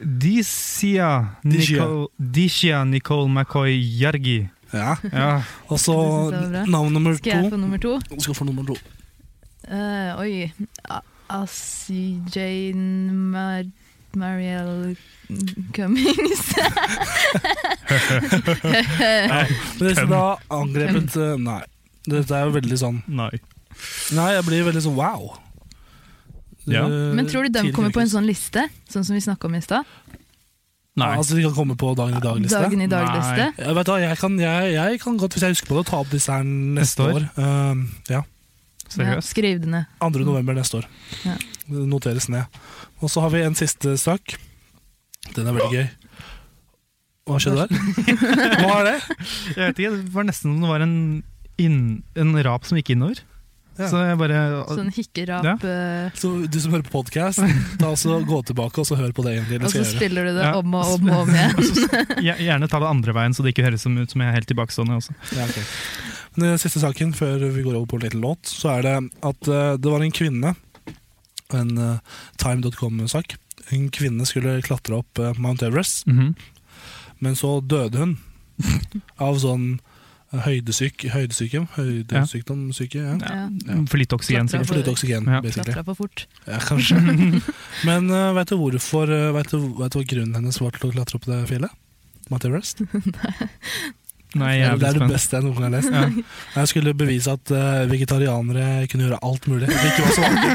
Disia Dishia. Nicole, Dishia Nicole McCoy Jargi. Ja. Ja. Og så Det synes jeg var bra. navn nummer Skal jeg to. få nummer to? Du skal få nummer to. Eh, oi A- Asi Jane Mar Marielle Cummings. Men det som da angrepet eh, Nei. Dette er jo veldig sånn Nei. Nei, jeg blir veldig sånn wow. Ja. Eh, Men tror du de tidlig kommer på en yrkes- sånn liste, sånn som vi snakka om i stad? Nei. Altså, de kan komme på dagen i dag-liste? Dagen i dag-liste? Jeg vet da, jeg kan, jeg, jeg kan godt, hvis jeg husker på det, ta opp disse her neste Neste år? år. Eh, ja. Ja, Seriøst? skriv det ned. 2. november neste år. Ja. Det noteres ned. Og så har vi en siste sak. Den er veldig gøy. Hva skjedde der? Hva er det? Jeg vet ikke, Det var nesten som det var en, inn, en rap som gikk innover. Ja. Så jeg bare Sånn hikkerap, eh, Så du som hører på podkast, gå tilbake og så hør på det egentlig. og Det så skal jeg gjøre. spiller du det Ja. om og om og om igjen. gje- Altså, Gjerne ta det andre veien, så det ikke høres som ut som jeg er helt tilbakestående. også. Ja, ok. Men Den siste saken før vi går over på en liten låt, så er det at eh, det var en kvinne, en eh, time.com-sak. En kvinne skulle klatre opp eh, Mount Everest, Mhm. men så døde hun av sånn høydesyk, høydesyke, høydesykdom, syke, ja. ja. Ja. Mm-hmm. For lite oksygen, Klatra sikkert. For litt oksygen, Ja. basically. Klatra for fort. Ja, kanskje. Men uh, vet du hvorfor eh, vet, du, vet du hva grunnen hennes var til å klatre opp det fjellet? Mount Everest? Nei, Det er jeg er det veldig spent. beste jeg noen gang har lest. Ja. Jeg skulle bevise at eh, vegetarianere kunne gjøre alt mulig. Det ikke var så vanlig.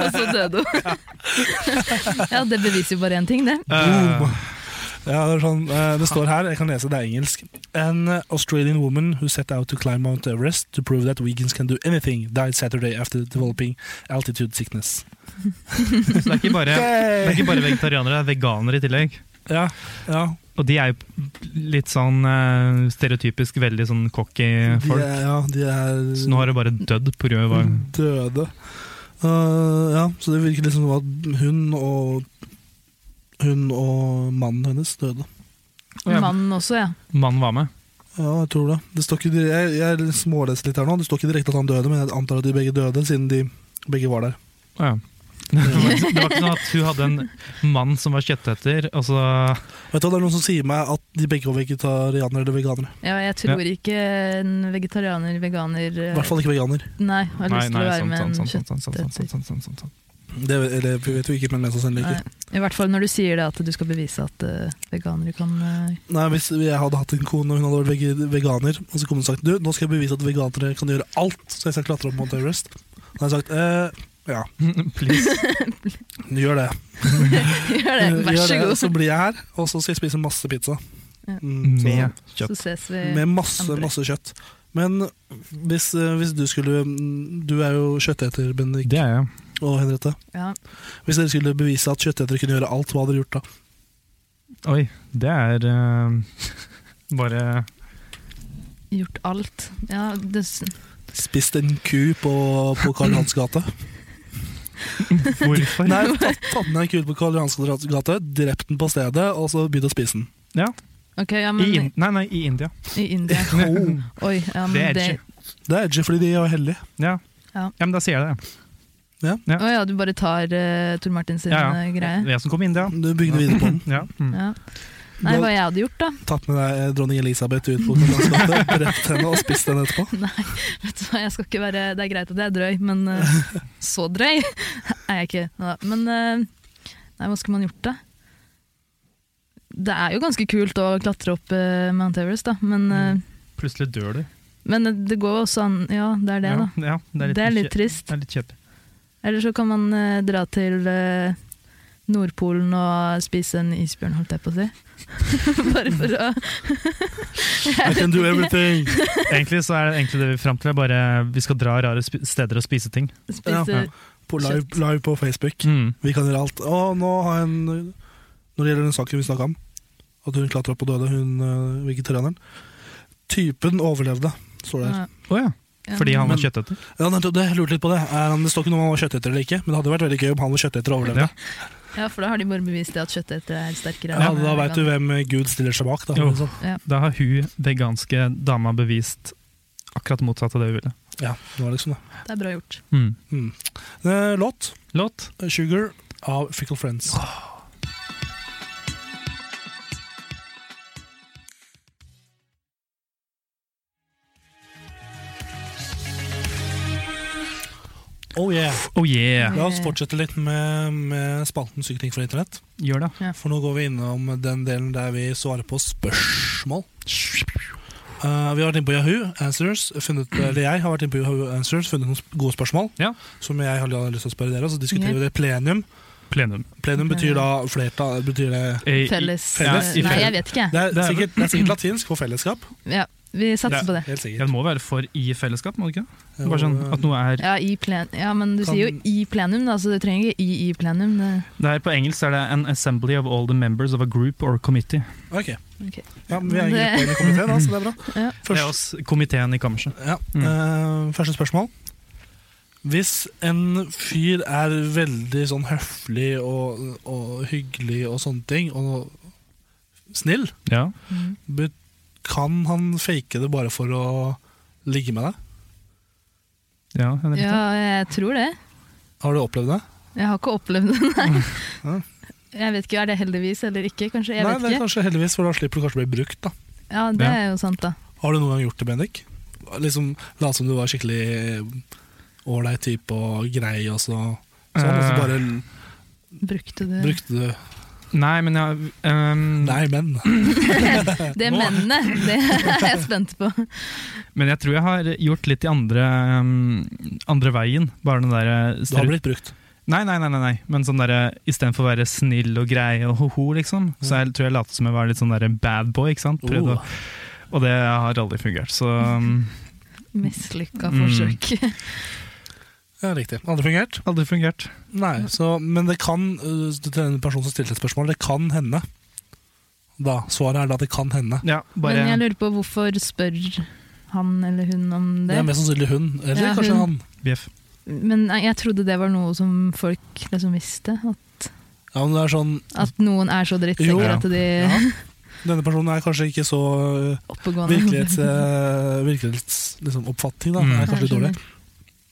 Og så døde hun. ja, det beviser jo bare én ting, det. Eh, Ja, det, er sånn, eh, det står her, jeg kan lese, det er engelsk. An Australian woman who set out to climb Mount Everest to prove that vegans can do anything, died Saturday after developing altitude sickness. så det er ikke bare, det er ikke bare vegetarianere, det er veganere i tillegg. Ja, ja. Og de er jo litt sånn eh, stereotypisk veldig sånn cocky De folk. er, Mm. ja, de er Så nå har det bare dødd på grunn av døde. Eh, ja, så det virker liksom som at hun og hun og mannen hennes døde. ja. Mannen også, ja. mannen var med. Ja, jeg tror det. det står ikke, dire- jeg jeg småleser litt her nå. Det står ikke direkte at han døde, men jeg antar at de begge døde, siden de begge var der. Å, Ja. Det var ikke det var ikke sånn at hun hadde en mann som var kjøtteter, og så Vet du hva, Det er noen som sier meg at de begge var vegetarianere eller veganere. ja jeg tror ikke en vegetarianer, veganer I eh, hvert fall ikke veganer. Nei, har lyst til å være med en sant, sant, sant, sant, sant, sant, sant, sant, sant. Det eller, vi vet vi ikke, men mest sannsynlig ikke. kjøtteter. I hvert fall når du sier det at du skal bevise at eh, veganere kan eh, Nei, Hvis jeg hadde hatt en kone og hun hadde vært vege- veganer, og så kom hun og sagt du, nå skal jeg bevise at veganere kan gjøre alt, så jeg skal klatre opp Mount Everest, da hadde jeg sagt eh, ja, Please. gjør det. Gjør det, vær Gjør så det, god. Så blir jeg her, og så skal jeg spise masse pizza. Ja. Mm, så- Med Så ses vi. med masse, andre. masse kjøtt. Men hvis, eh, hvis du skulle mm, Du er jo kjøtteter, Bendik Det er jeg. og Henriette. Ja. Hvis dere skulle bevise at kjøttetere kunne gjøre alt, hva hadde dere gjort da? Oi, det er eh, bare Gjort alt. Ja, det, s- Spist en ku på, på Karl Johans gate? Hvorfor? Nei, tatt, tatt ned en ku på Karl Johans gate, drept den på stedet, og så begynt å spise den. Ja. ok, I, ja, men In- nei, nei, i India. i India. Oi, ja, Det men er det edgy. Det er edgy fordi de er heldige. Ja. Ja. ja, men da sier jeg det. Å ja, du bare tar uh, Tor Martin sin Ja, ja. eh, greie? Jeg som kom i India. Du bygde videre på den. Ja. Mm. Ja. Nei, Du hva har jeg hadde gjort, da? tatt med deg eh, dronning Elisabeth ut på Karl Johans gate, drept henne og spist henne etterpå. Nei, vet du hva, jeg skal ikke være Det er greit at jeg er drøy, men eh, så drøy er jeg ikke. Neida. Men eh, Nei, hva skulle man gjort, da? Det er jo ganske kult å klatre opp eh, Mount Everest, da, men, eh, Plutselig dør du. men det går jo også an Ja, det er det, da. Ja, ja, det er litt, Det er kje- litt trist. Det er litt kjøp. Eller så kan man eh, dra til eh, Nordpolen og spise en isbjørn, holdt jeg på å si. Bare for å I can do everything! Egentlig så er det egentlig det vi er fram til, er bare vi skal dra rare spi- steder og spise ting. spise Ja. På live, live på Facebook. Mm. Vi kan gjøre alt. Og nå har jeg en Når det gjelder den saken vi snakka om, at hun klatra opp og døde, hun øh, vegetarianeren Typen overlevde, står det her. Ja. Å ja. Ja. Fordi han var Men- kjøtteter? Ja, nettopp det, jeg lurte litt på det. Er han, det står ikke noe om han var kjøtteter eller ikke, men det hadde vært veldig gøy om han var kjøtteter og overlevde. Ja. ja, for da har de bare bevist det at kjøttetere er sterkere. Ja, enn da vegan. veit du hvem Gud stiller seg bak, da. Jo. liksom. Da har hun veganske dama bevist akkurat motsatt av det hun ville. Ja, det var liksom det. Det er bra gjort. Mm. Mm. Eh, Låt eh, Låt? 'Sugar' av Fickle Friends. Oh yeah. Oh yeah! La oss fortsette litt med, med spalten Syke ting fra internett. Gjør det. For nå går vi innom den delen der vi svarer på spørsmål. Eh, vi har vært inne på Yahoo Answers, funnet, eller jeg har vært inne på Yahoo Answers, funnet noen sp- gode spørsmål Ja. som jeg har lyst til å spørre dere. og Så diskuterer Ja. vi det i plenum. Plenum. Plenum betyr da flertall. Betyr det, Eh, i- Felles. Ja, i Nei, jeg felles. vet ikke. det, er Det er- sikkert, det er sikkert latinsk for fellesskap. Ja, vi satser Det- på det. Helt Ja, sikkert. det må være for i fellesskap, må det ikke? Jo, Bare sånn eh, at noe er Ja, i plen ja, men du Kan- sier jo i plenum, da, så du trenger ikke i i plenum. Det, Det her På engelsk er det 'an assembly of all the members of a group or committee'. ok. Ok. Ja, men vi er en Det- gruppe i komiteen, da, så det er bra. Ja. Det er oss, komiteen i kammerset. Ja, Mm. eh, Første spørsmål. Hvis en fyr er veldig sånn høflig og, og hyggelig og sånne ting, og snill, Ja. mm. bet- kan han fake det bare for å ligge med deg? Ja, Henrik, ja, jeg tror det. Har du opplevd det? Jeg har ikke opplevd det, nei. Ja. Jeg vet ikke, Er det heldigvis eller ikke? kanskje? Jeg Nei, vet det er ikke. kanskje heldigvis, for da slipper du kanskje å bli brukt. da. Ja, Det er jo sant, da. Har du noen gang gjort det, Bendik? Liksom, Late som du var skikkelig ålreit type og grei, og så, sånn, og så Eh. bare Brukte du brukte du Nei, men jeg ehm, Nei, men. Det mennene, det er jeg spent på. Men jeg tror jeg har gjort litt i andre, ehm, andre veien. Bare den der Du har blitt brukt. nei, nei, nei, nei, nei. Men sånn der, istedenfor å være snill og grei og ho-ho, liksom, så jeg tror jeg lot som jeg var litt sånn der bad boy. ikke sant? Prøvde å- Oh. Og det har aldri fungert. Så ehm, Mislykka Mm. forsøk. Ja, riktig. Hadde fungert? aldri fungert. Nei, så, men det kan øh, til den personen som stilte et spørsmål, det kan hende da. Svaret er da at det kan hende. Ja, Men jeg bare lurer på hvorfor spør han eller hun om Det det? er mest sannsynlig hun, eller Ja, kanskje hun. han. bjeff. Men jeg jeg trodde det var noe som folk liksom visste. At, Ja, men det er sånn, at noen er så Jo. drittsekker at de ja. Denne personen er kanskje ikke så øh, oppegående. virkelighets, øh, virkelighetsoppfatning, liksom, oppfatning, da. Mm. Er kanskje litt dårlig.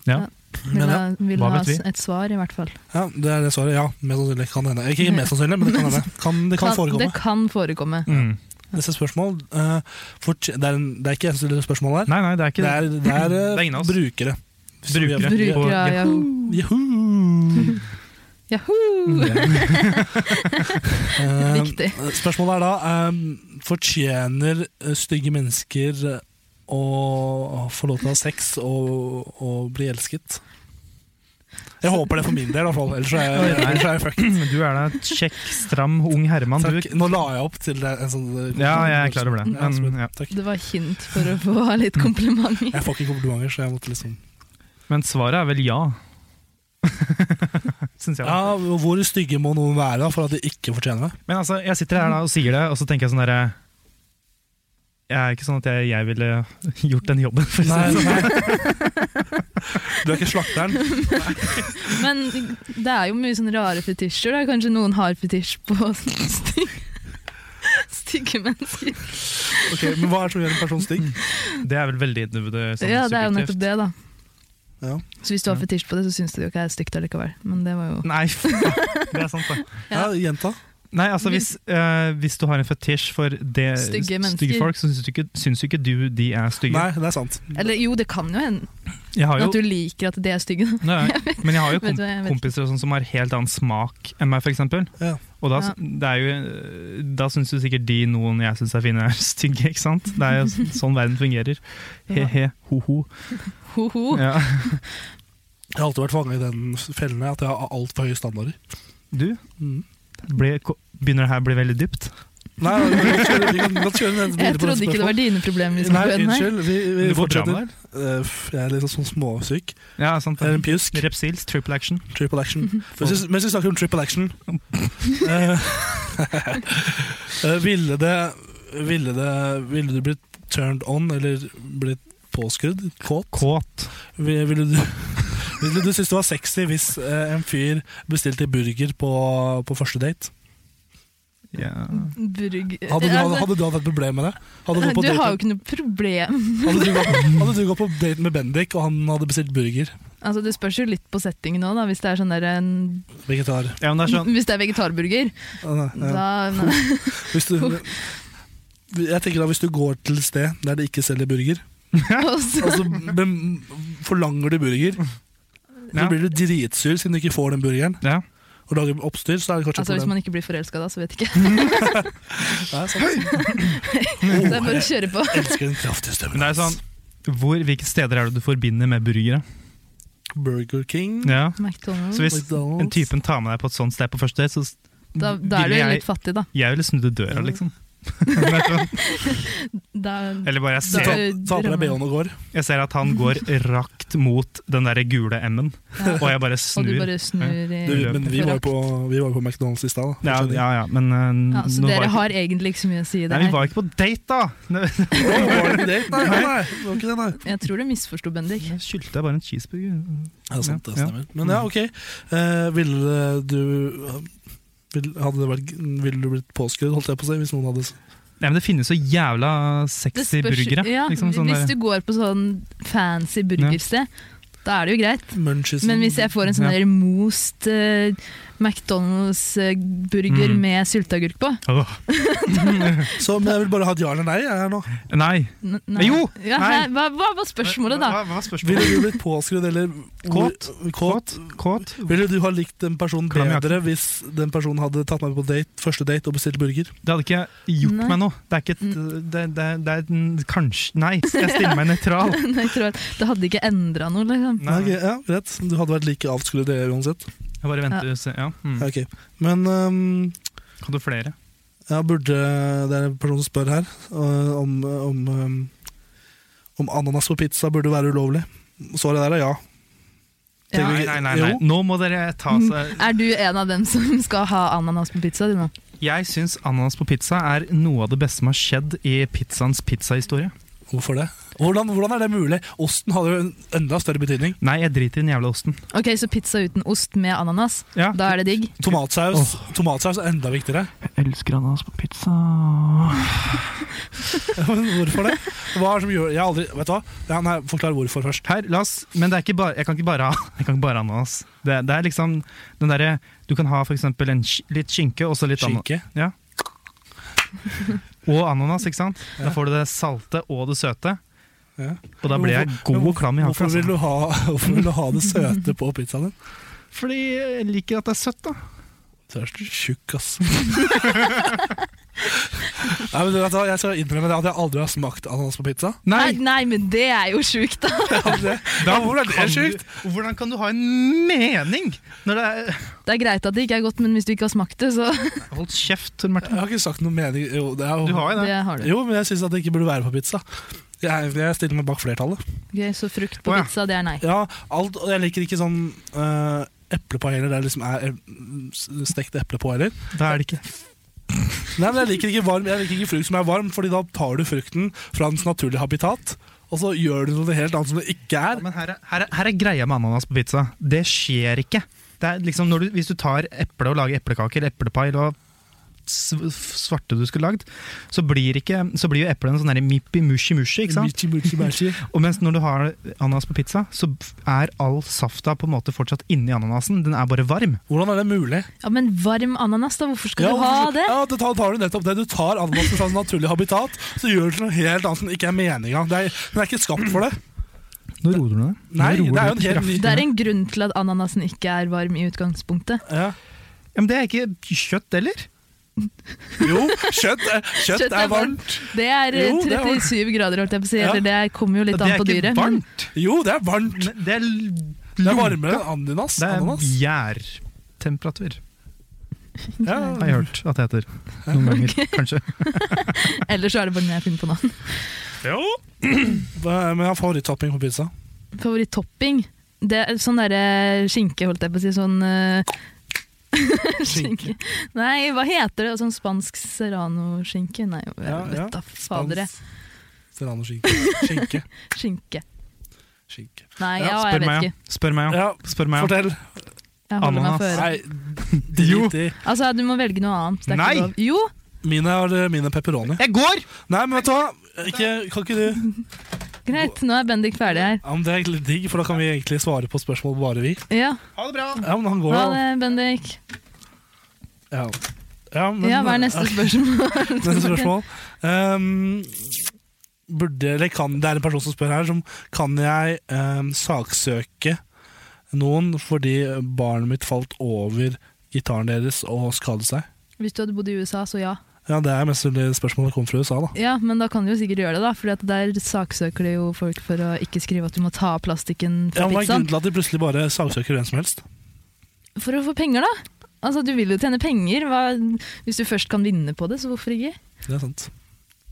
Ja. Vil Men ha, ja, vil hva ha vet vi? et svar, i hvert fall. ja, det er det svaret. Ja, mest sannsynlig kan hende. Ikke, ikke mest sannsynlig, men det kan hende. Kan, det kan forekomme. Det kan forekomme. Mm. Neste spørsmål. eh, fortje- det, er en, det er ikke jeg som stiller spørsmål her. Nei, nei, det er ikke Det det. er, det er, eh, Det er ingen av oss. brukere. Så vi Brukere. har- Bruk- Bruker av Yahoo. Yahoo. Yahoo! Yahoo! Eh, Viktig. spørsmålet er da eh, Fortjener eh, stygge mennesker eh, å få lov til å ha sex og, og bli elsket? Jeg håper det for min del, i hvert fall. Ellers er jeg, ellers er jeg fucked. Du er da et kjekk, stram, ung herremann. Du, Takk. Nå la jeg opp til en sånn ja, jeg er klar over det. Ja, Men, ja. Takk. Det var hint for å få litt komplimenter. Jeg får ikke komplimenter, så jeg måtte liksom men svaret er vel ja. Syns jeg. Ja, Hvor stygge må noen være da, for at de ikke fortjener det? Men altså, jeg sitter her da og sier det, og så tenker jeg sånn derre Jeg er ikke sånn at jeg, jeg ville gjort den jobben. For å si det sånn. Du er ikke slakteren? Men det er jo mye sånne rare fetisjer. Da. Kanskje noen har fetisj på stygge, stygge mennesker. Ok, men Hva er det som gjør en person stygg? Det er vel veldig individuelt. Sånn, ja, det er jo subjektivt. nettopp det, da. Ja. Så hvis du har Ja. fetisj på det, så syns du det jo ikke er stygt allikevel. Men det var jo Nei, faen, det er sant, det. Ja, Ja. Jenta? Nei, altså hvis, eh, hvis du har en fetisj for det, Stygge mennesker. folk, så syns du ikke, syns jo ikke du de er stygge. Nei, det er sant. Eller jo, det kan jo hende Jeg har jo, at du liker at de er stygge. da. nei, men jeg har jo Vet komp du hva, jeg vet kompiser og sånn som har helt annen smak enn meg, for eksempel. Ja. Og da, Ja. det er jo, da syns jo sikkert de noen jeg syns er fine, er stygge, ikke sant? Det er jo s- sånn verden fungerer. He-he, ho-ho. Ho-ho. Ja. Jeg har alltid vært fanget i den fellen at jeg har altfor høye standarder. Du, Mm. ble, ko- begynner det her å bli veldig dypt? Nei, vi kan kjøre, vi kan godt kjøre den Jeg trodde ikke det var dine problemer vi skulle Nei, på den her. unnskyld. Vi, vi Du går drama fortsetter. der? Eh, f- Jeg er litt sånn småsyk. Ja, sant. Jeg er en pjusk. Repsils, triple action. Triple action. Mhm. Mens vi- mens vi snakker om triple action eh, eh, Ville det Ville det Ville du blitt turned on, eller blitt påskrudd? Kåt? Kåt. Vi- Ville du, ville du synes det var sexy hvis eh, en fyr bestilte burger på, på første date? Ja. Burg... Hadde du, hadde, Altså, hadde du hatt et problem med det? Hadde du, gått på du date, har jo ikke noe problem. hadde, du gått, hadde du gått på date med Bendik, og han hadde bestilt burger? Altså, Det spørs jo litt på settingen òg, hvis det er sånn der en, Vegetar. ja, men det er sånn Hvis det er vegetarburger. Ja, nei, ja. Da, Hvis du, jeg tenker da Hvis du går til et sted der de ikke selger burger, og så- og så bem- forlanger du burger, så Ja. blir du dritsur siden du ikke får den burgeren, ja. og lager oppstyr, så er det kanskje et altså, hvis problem. man ikke blir forelska da, så vet jeg ikke. Nei, sånn. sant. Så det er Oh. bare å kjøre på. Jeg elsker den kraftige stemmen. Men det er sånn hvor, Hvilke steder er det du forbinder med burgere? Burger King, Ja. McDonald's. Så hvis McDonald's. den typen tar med deg på et sånt sted på første date, så s- Da, da er du ville jo jeg, litt fattig, da. jeg ville snudd døra, liksom. Det er sånn. da Eller bare Ta, jeg Da- ser, ta på deg BH-en og går. jeg ser at han går rakt mot den der gule M-en, Ja. og jeg bare og du snur. bare snur i Du, Løper men vi var, jo på, vi var jo på McDonald's i stad. da. Ja, ja, ja, men eh, Ja, Så nå var dere ikke, har egentlig ikke så mye å si i Nei, det vi her. var ikke på date, da! Nå Å, var det ikke det? Nei, nei, nei, det var ikke det, nei. Jeg tror du misforsto, Bendik. nå skyldte jeg bare en cheeseburger. Ja, sant, det Ja. stemmer. Men ja, ok. Eh, ville du vil, hadde det vært, ville du blitt påskrudd, holdt jeg på å si, hvis noen hadde Nei, men det finnes jo jævla Det sexy spørs- burgere. Ja, liksom, sånn hvis der- du går på sånn fancy burgersted, da er det jo greit. munchies Men hvis jeg får en sånn Ja. der most eh, McDonald's-burger Mm. med sylteagurk på Åh. Så men jeg vil bare ha et ja eller nei. Jeg er her nå. Nei! N- nei. Jo! Ja, Nei. hæ? Hva, hva var spørsmålet, da? Hva, hva var Ville spørsmålet? du blitt påskrudd eller Kåt? kåt? Kåt? Ville du ha likt den personen Klam i bedre hvis den personen hadde tatt meg på date, første date og bestilt burger? Det hadde ikke gjort Nei. Mm. meg noe. Det er ikke et, det, det, det er en, Kanskje Nei, jeg stiller meg nøytral. Nei, jeg tror at det hadde ikke endra noe, liksom. Nei, Ok, ja, Greit. Du hadde vært like avskrudd det uansett. Jeg bare venter og ser. Ja. Ja, Mm. ok. Men ehm, Kan du flere? Ja, burde Det er en person som spør her øh, om, øh, om, øh, om ananas på pizza burde være ulovlig. Svaret der er ja. Ja. Nei, nei, nei, nei. Jo. Mm. Nå må dere ta seg Er du en av dem som skal ha ananas på pizza di nå? Jeg syns ananas på pizza er noe av det beste som har skjedd i pizzaens pizzahistorie. Hvorfor det? Hvordan, hvordan er det mulig? Osten hadde jo en enda større betydning. Nei, jeg driter i den jævla osten. Ok, Så pizza uten ost med ananas? Ja. Da er det digg? Tomatsaus, tomatsaus er enda viktigere. Jeg elsker ananas på pizza. Men hvorfor det? Hva er det som gjør Jeg har aldri Vet du hva? Ja, nei, Forklar hvorfor først. Her, la oss Men det er ikke bare, jeg kan ikke bare ha jeg kan ikke bare ha ananas. Det, det er liksom den derre Du kan ha for eksempel en, sk- litt skinke og så litt ananas. Skinke. Ja. Og ananas, ikke sant? Da får du det salte og det søte. Ja. Og da blir jeg Men god hvor- og klam i hakka. Hvorfor vil, Altså. du ha, hvorfor vil du ha det søte på pizzaen din? Fordi jeg liker at det er søtt, da. Du er så tjukk, ass. Nei, men du vet hva, Jeg skal innrømme det at jeg aldri har smakt ananas på pizza. Nei, nei, men det er jo sjukt, da! Da, hvordan er det kan sjukt? du- Hvordan kan du ha en mening når det er Det er greit at det ikke er godt, men hvis du ikke har smakt det, så Hold kjeft, Tor Marte. Jeg har ikke sagt noe mening Jo, det er jo, Du har jo det. det har du. jo men jeg syns det ikke burde være på pizza. Jeg, jeg stiller meg bak flertallet. Ok, Så frukt på Å, ja. pizza, det er nei. Ja, alt, og jeg liker ikke sånn uh, eplepai heller, der det liksom er eh, stekt eple på heller. Da er det ikke Nei, men jeg liker, ikke varm, jeg liker ikke frukt som er varm, Fordi da tar du frukten fra dens naturlige habitat, og så gjør du noe helt annet som det ikke er. Men her er, her, er, her er greia med ananas på pizza. Det skjer ikke. Det er liksom når du, hvis du tar eple og lager eplekake eller eplepai eller hva sv- svarte du skulle lagd, så blir, ikke, så blir jo eplene sånn der mippi mushi mushi, ikke sant? Michi, michi, michi. Og mens når du har ananas på pizza, så er all safta på en måte fortsatt inni ananasen. Den er bare varm. Hvordan er det mulig? Ja, Men varm ananas, da? Hvorfor skal Ja, du ha hvorfor- det? Ja, det tar, tar du nettopp det. Du tar ananasen fra dens naturlige habitat, så gjør du til noe helt annet som ikke er meninga. Det er- Den er ikke skapt for det. Nå roer du deg. Nå Nei, det roer er jo du en helt ny Det er en grunn til at ananasen ikke er varm i utgangspunktet. ja. Ja, men det er ikke kjøtt heller. Jo, kjøtt, er- kjøtt er varmt. Det er eh, Jo, det er varmt. 37 grader, holdt jeg på å si. Ja. Eller det kommer jo litt det an er på ikke dyret. men- varmt. Jo, det er varmt. Men det er, Det er varmere enn ananas. Det er ananas. gjærtemperatur, Ja. har jeg hørt at det heter. Noen ganger, kanskje. Eller så er det bare den jeg finner på nå. Hva- Men jeg har favorittopping på pizza. Favoritt-topping? Det er sånn derre skinke, holdt jeg på å si. Sånn eh, Skinke. Nei, hva heter det? Sånn spansk serrano-skinke? Nei, jeg Ja, ja. vet da fadere. Serrano skinke. Skinke. eh, Skinke. skinke. Nei, ja, Ja, jeg spør vet meg, ja. ikke. Spør meg, ja. Ja, Spør meg, ja. fortell. Jeg holder meg Ananas. for øret. Nei, drit i. Altså, du må velge noe annet. Det er Nei! Ikke lov. Jo! Mine er mine pepperoni. Jeg går! Nei, men vet du hva? Ikke, kan ikke du Greit, nå er Bendik ferdig her. ja, men Det er egentlig digg, for da kan vi egentlig svare på spørsmål bare vi. Ja, Ha det bra! Ja, men han går ha jo. det, Bendik. Ja. Ja, men, Ja, hva er neste spørsmål? neste spørsmål? Ehm, burde, eller kan, det er en person som spør her, som kan jeg ehm, saksøke noen fordi barnet mitt falt over gitaren deres og skadet seg? Hvis du hadde bodd i USA, så ja. Ja, Det er mest sannsynlig spørsmålet kom fra USA, da. Ja, Men da kan du jo sikkert gjøre det, da. For der saksøker det jo folk for å ikke skrive at du må ta av plastikken Ja, fra men Hva er pizzaen. grunnen til at de plutselig bare saksøker hvem som helst? For å få penger, da. Altså, Du vil jo tjene penger. Hva, hvis du først kan vinne på det, så hvorfor ikke? Det er sant.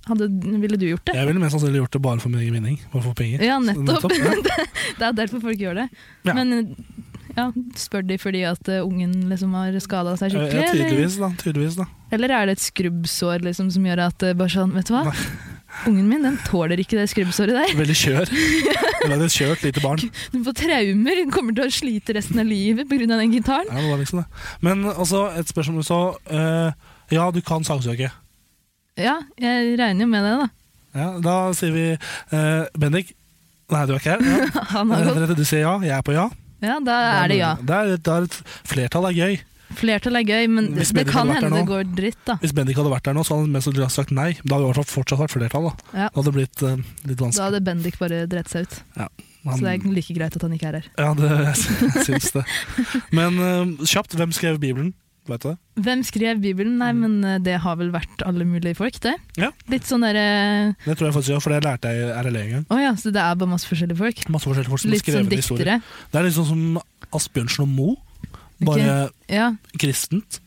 Hadde, ville du gjort det? Jeg ville mest sannsynlig gjort det bare for min egen vinning. Bare for penger. Ja, nettopp. ja. Det er derfor folk gjør det. Ja. Men eh, ja, spør de fordi at eh, ungen liksom har skada seg Ja, skikkelig? eller? tydeligvis, da. Tydeligvis, da. Eller er det et skrubbsår liksom, som gjør at det bare sånn, vet du hva? Nei. Ungen min den tåler ikke det skrubbsåret der. Veldig kjør. Eller et kjørt lite barn. Den får traumer, den kommer til å slite resten av livet pga. den gitaren. Ja, det var liksom det. Men altså, et spørsmål så eh, Ja, du kan saksøke. Ja, jeg regner jo med det, da. Ja, da sier vi eh, Bendik Nei, du er ikke her. Ja. Han har gått. Henriette, Du sier ja, jeg er på ja. Ja, da er det ja. Det er, det er et flertall er gøy. Flertall er gøy, men Hvis det Bendik kan hadde vært hende her det nå. går dritt, da. Hvis Bendik hadde vært der nå, så hadde han mest sannsynlig sagt nei. Da hadde vi i hvert fall fortsatt vært flertall. Da, Ja. det hadde det blitt eh, litt Da vanskelig. hadde Bendik bare dreit seg ut. Så Han- det er like greit at han ikke er her. Ja, det jeg syns det. Men eh, kjapt, hvem skrev Bibelen? Vet du det? Hvem skrev Bibelen? Nei, men eh, det har vel vært alle mulige folk, det. Ja. Litt sånn derre Det tror jeg faktisk, ja, for det lærte jeg i RLE en gang. Å ja, så det er bare masse forskjellige folk? Masse forskjellige folk som har Litt som skrevet historier. diktere. Det er litt sånn som Asbjørnsen og Moe, bare Ja. kristent.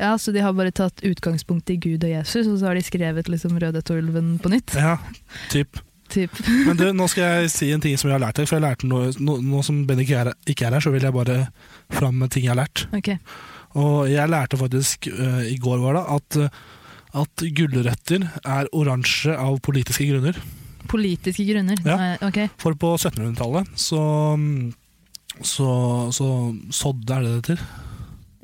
Ja, så de har bare tatt utgangspunkt i Gud og Jesus, og så har de skrevet liksom Rødhette-ulven på nytt. Ja, typ. Typ. Men du, nå skal jeg si en ting som jeg har lært deg, for jeg lærte noe, nå, nå som Ben ikke er, ikke er her, så vil jeg bare fram med ting jeg har lært. Ok. Og jeg lærte faktisk eh, i går var det, at, eh, at gulrøtter er oransje av politiske grunner. Politiske grunner. Ja. Nei, ok. For på 1700-tallet så så, så sådd er det det heter.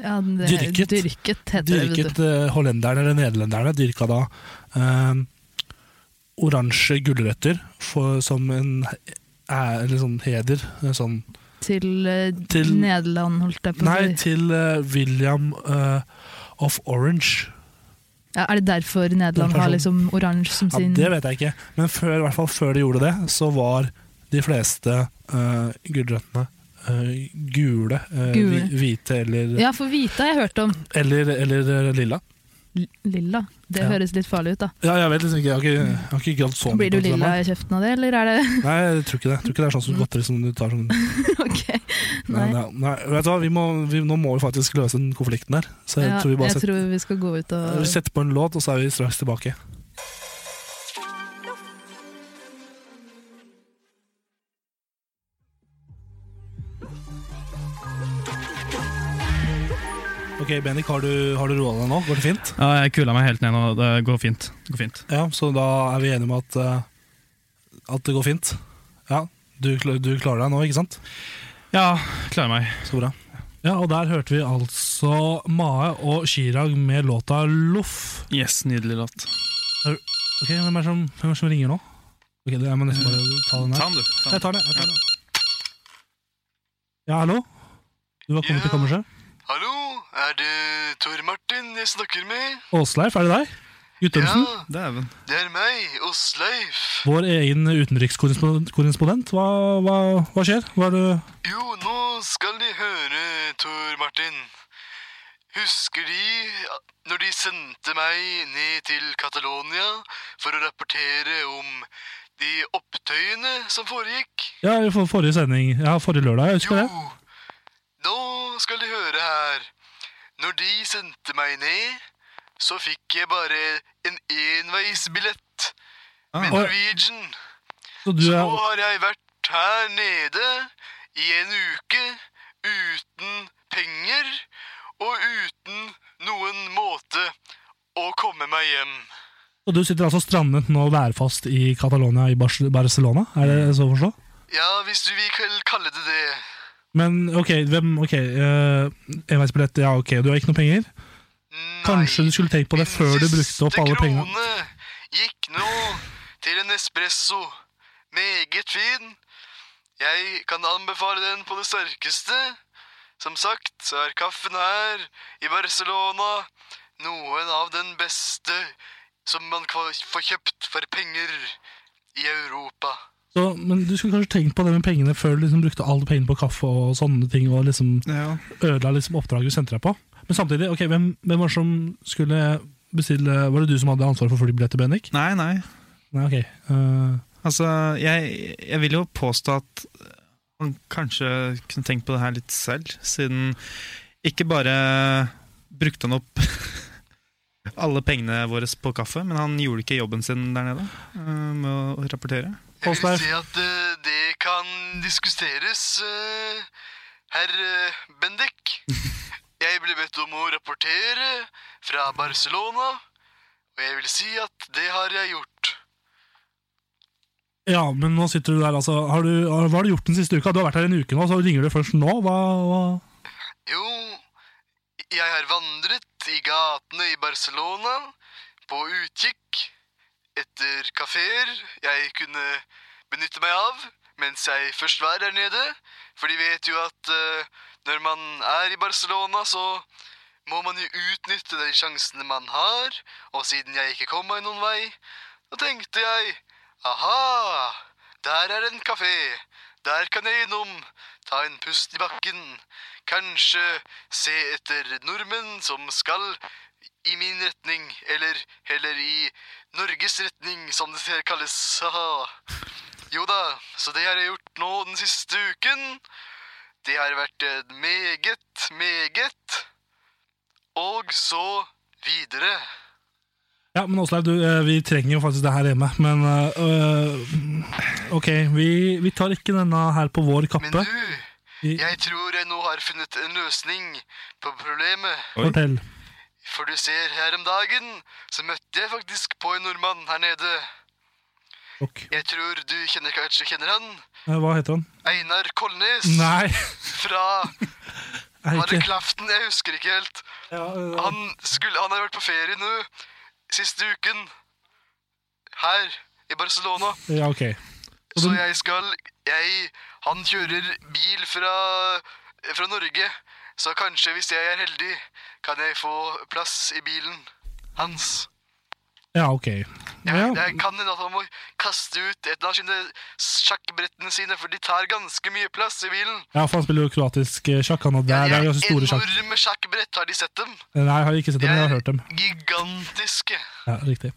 Ja, det, Dyrket. Dyrket heter det. vet Dyrket du. eh, hollenderne eller nederlenderne dyrka da eh, oransje gulrøtter for, som en eh, eller sånn heder. eh, Sånn Til, eh, Til- Nederland, holdt jeg på å Nei, si. til eh, William eh, of Orange. Ja, er det derfor Nederland har liksom oransje som Ja, sin det vet jeg ikke, men før, i hvert fall før de gjorde det, så var de fleste uh, gulrøttene eh, gule, eh, Gule. hvi- hvite eller, Ja, for hvite har jeg hørt om. eller, eller eh, lilla. L- Lilla. Det Ja. høres litt farlig ut, da. Ja, jeg vet liksom ikke, jeg har ikke, jeg har ikke gravd så Blir du på det lilla meg. Mm. i kjeften av det, eller er det Nei, jeg tror ikke det. Jeg tror ikke det er sånn som godteri som du tar sånn Ok. Nei. Nei. Nei, vet du hva, vi må, vi, nå må vi faktisk løse den konflikten her. Så jeg Ja, tror vi bare jeg setter, tror vi skal gå ut og vi setter på en låt, og så er vi straks tilbake. Ok, Bennik, har du, har du roa deg nå? Går det fint? Ja, jeg kula meg helt ned nå. Det går fint. Det går fint. Ja, så da er vi enige om at, eh, at det går fint? Ja, du, kla- du klarer deg nå, ikke sant? Ja, klarer meg. Så bra. Ja, og der hørte vi altså Mae og Chirag med låta 'Loff'. Yes, nydelig låt. Ok, Hvem er det som, hvem er det som ringer nå? Ok, det- Jeg må nesten bare ta den her. den, du. Jeg tar den. jeg tar den. Ja, hallo? Du har kommet til Ja. kammerset? Hallo, er det Tor Martin jeg snakker med? Åsleif, er det deg? Guttormsen? Dæven. det er meg, Åsleif. Vår egen utenrikskorrespondent. Hva, hva, hva skjer? Hva er det Jo, nå skal de høre, Tor Martin. Husker de når de sendte meg ned til Catalonia for å rapportere om de opptøyene som foregikk? Ja, i for- forrige sending. Ja, forrige lørdag. Jeg husker Jo, det. nå skal de høre her. Når de sendte meg ned, så fikk jeg bare en enveisbillett med Ah. Norwegian. Så du Så er nå har jeg vært her nede i en uke uten penger og uten noen måte å komme meg hjem. Og du sitter altså strandet nå værfast i Catalonia i Bars- Barcelona, er det så å forstå? Ja, hvis du vil kall- kalle det det. Men ok, hvem, ok, eh, enveisbillett, ja ok, du har ikke noe penger. Nei. Kanskje du skulle tenkt på det før du brukte opp alle pengene. Min siste krone gikk nå til en espresso. Meget fin. Jeg kan anbefale den på det sterkeste. Som sagt så er kaffen her i Barcelona noen av den beste som man kva- får kjøpt for penger i Europa. Så, men du skulle kanskje tenkt på det med pengene før du liksom brukte alle pengene på kaffe og sånne ting, og liksom Ja. ødela liksom oppdraget du sendte deg på. Men samtidig, ok, hvem, hvem var det som skulle bestille, var det du som hadde ansvaret for flybilletter, Bendik? Nei, nei. Nei, ok. eh, Altså, jeg, jeg vil jo påstå at man kanskje kunne tenkt på det her litt selv, siden ikke bare brukte han opp alle pengene våre på kaffe, men han gjorde ikke jobben sin der nede eh, med å rapportere. Jeg vil Åsleif. si at eh, det kan diskuteres, eh, herr eh, Bendik. Jeg ble bedt om å rapportere fra Barcelona, og jeg vil si at det har jeg gjort. ja, men nå sitter du der, altså, har du, har, hva har du gjort den siste uka? Du har vært her en uke nå, så ringer du først nå, hva, hva? Jo, jeg har vandret i gatene i Barcelona på utkikk etter kafeer jeg kunne benytte meg av mens jeg først var der nede. For de vet jo at eh, når man er i Barcelona, så må man jo utnytte de sjansene man har. Og siden jeg ikke kom meg noen vei, da tenkte jeg aha, der er en kafé. Der kan jeg innom, ta en pust i bakken. Kanskje se etter nordmenn som skal i min retning, eller heller i Norges retning, som det ser kalles. Haha. Jo da, så det har jeg gjort nå den siste uken. Det har vært eh, meget, meget. Og så videre. Ja, men Åsleif, du, eh, vi trenger jo faktisk det her hjemme, men eh, øh, Ok, vi, vi tar ikke denne her på vår Men kappe. du, I, Jeg tror jeg nå har funnet en løsning på problemet. Oi. fortell. For du ser, her om dagen så møtte jeg faktisk på en nordmann her nede. Ok. Jeg tror du kjenner kanskje kjenner han. Eh, Hva heter han? Einar Kolnes Nei, fra jeg Var det er ikke Klaften? Jeg husker ikke helt. ja, eh, Han, skulle, han har vært på ferie nå siste uken. Her i Barcelona. ja, ok. Og Så den- jeg skal jeg, Han kjører bil fra, fra Norge, så kanskje, hvis jeg er heldig, kan jeg få plass i bilen hans. Ja, ok. Jeg, Ja, jeg kan hende at han må kaste ut et av sine sjakkbrettene sine, for de tar ganske mye plass i bilen. ja, for han spiller jo kroatisk eh, sjakk, han, og det er, det er ganske store sjakk. Eh, Enorme sjakkbrett, har de sett dem? Nei, jeg har ikke sett dem, men jeg har hørt dem. Gigantiske. Ja, riktig.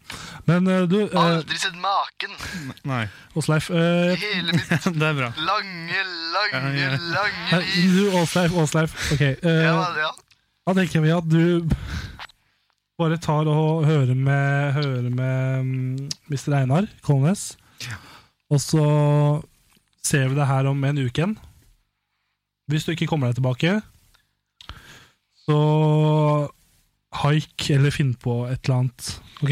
Men eh, du, eh, Aldri sett maken. Nei. Åsleif eh, Hele mitt Det er bra. lange, Ja, lange, ja. lange Nei, liv. du, Åsleif, Åsleif. Ok, eh, Ja, ja. da tenker vi at du bare tar og hører med, hører med mm, Mr. Einar Kolnes, og så ser vi det her om en uke igjen. Hvis du ikke kommer deg tilbake, så haik eller finn på et eller annet, ok?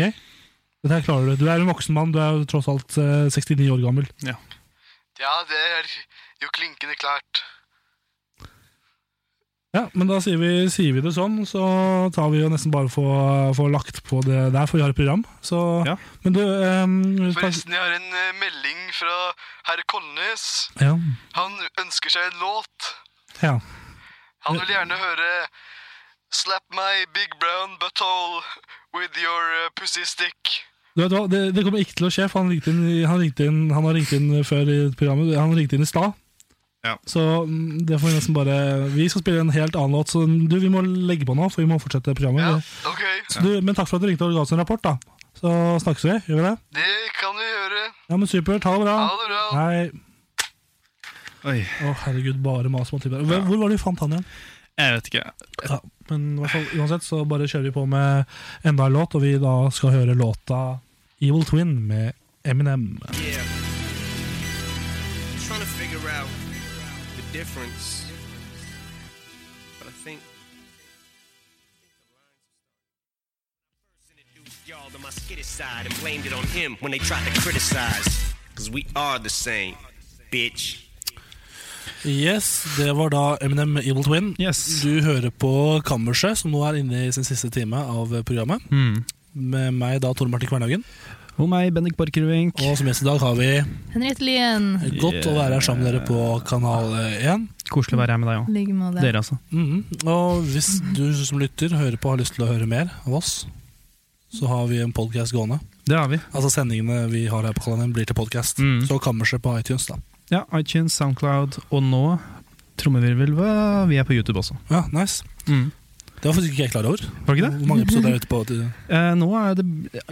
Dette her klarer du. Du er en voksen mann, du er jo tross alt eh, 69 år gammel. ja, det er jo klinkende klart. Ja, men da sier vi, sier vi det sånn, så tar vi jo nesten bare få, få lagt på det der, for vi har et program. Så, Ja. Men du ehm, takk- Forresten, jeg har en eh, melding fra herr Kolnes. ja. Han ønsker seg en låt. ja. Han vil gjerne høre Slap my big brown butthole with your eh, pussy stick. Du vet hva, det, det kommer ikke til å skje, for han ringte inn, i- han ringte inn, han har ringt inn før i programmet. Han ringte inn i stad. Ja. Så mm, det får vi nesten bare Vi skal spille en helt annen låt, så mm, du, vi må legge på nå, for vi må fortsette programmet. Ja, ok. Så du, men takk for at du ringte og ga oss en rapport, da. Så snakkes vi. Gjør vi det? Det kan vi gjøre. Ja, men supert. Ha det bra. Ha det bra. Hei. Oi. Å, herregud, bare mas om typer. Hvor, hvor var det vi fant han igjen? Jeg vet ikke. Ja, men i hvert fall, uansett så bare kjører vi på med enda en låt, og vi da skal høre låta Evil Twin med Eminem. Yeah. Trying to figure out the difference. But I think. Y'all to my skittish side and blamed it on him when they tried to criticize. Cause we are the same, bitch. Yes, det var da Eminem med Evil Twin. Yes. Du hører på Kammerset, som nå er inne i sin siste time av programmet. Hmm. Med meg da, Tore Martin Kvernhagen. Og meg, Bendik Borchgrevink. Og som gjest i dag har vi Henriette Lien. Godt å være her sammen med dere på Kanal 1. Koselig å være her med deg òg. Ligger med det. Dere, altså. Mhm. Og hvis du som lytter hører på og har lyst til å høre mer av oss, så har vi en podkast gående. Det har vi. Altså Sendingene vi har her på kanalen, blir til podkast. Mm. Så kammerset på iTunes, da. Ja, iTunes, Soundcloud og nå trommevirvel. hva- Vi er på YouTube også. Ja, nice. Mm. Det var faktisk ikke jeg klar over. Var det ikke det? Hvor mange episoder er ute på? Eh, nå er det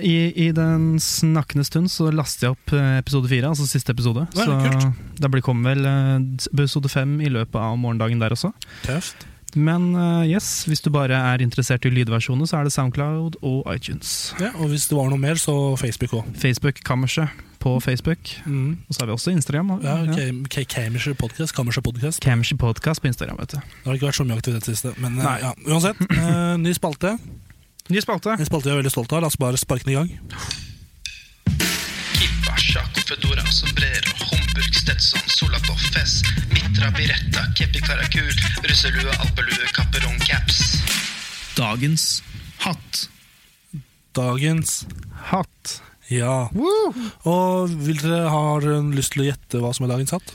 i, I den snakkende stund så laster jeg opp eh, episode fire, altså siste episode. Ja, kult. så da blir, kommer vel eh, episode fem i løpet av morgendagen der også. Tøft. Men eh, yes, hvis du bare er interessert i lydversjoner, så er det Soundcloud og iTunes. Ja, og hvis det var noe mer, så Facebook òg. Facebook-kammerset på Facebook. Mm. Og så har vi også Instagram. og- Ja, ja. Kam- K- Kammerset podcast, Kammerset podcast. Camshi Podcast på Instagram, vet du. Det har ikke vært så mye aktivitet siste, men eh, Nei. ja. uansett. eh, ny spalte. Ny spalte. En spalte jeg er veldig stolt av. La oss bare sparke den i gang. Kippa, Chaco, Fedora, Sombrero, Homburg, Stetson, Solapo, Fez, Mitra, Biretta, Kepi, Karakul, russelue, alpelue, kapperong, caps. Dagens hatt. Dagens Hatt. Ja. Og vil dere har dere lyst til å gjette hva som er dagens hatt?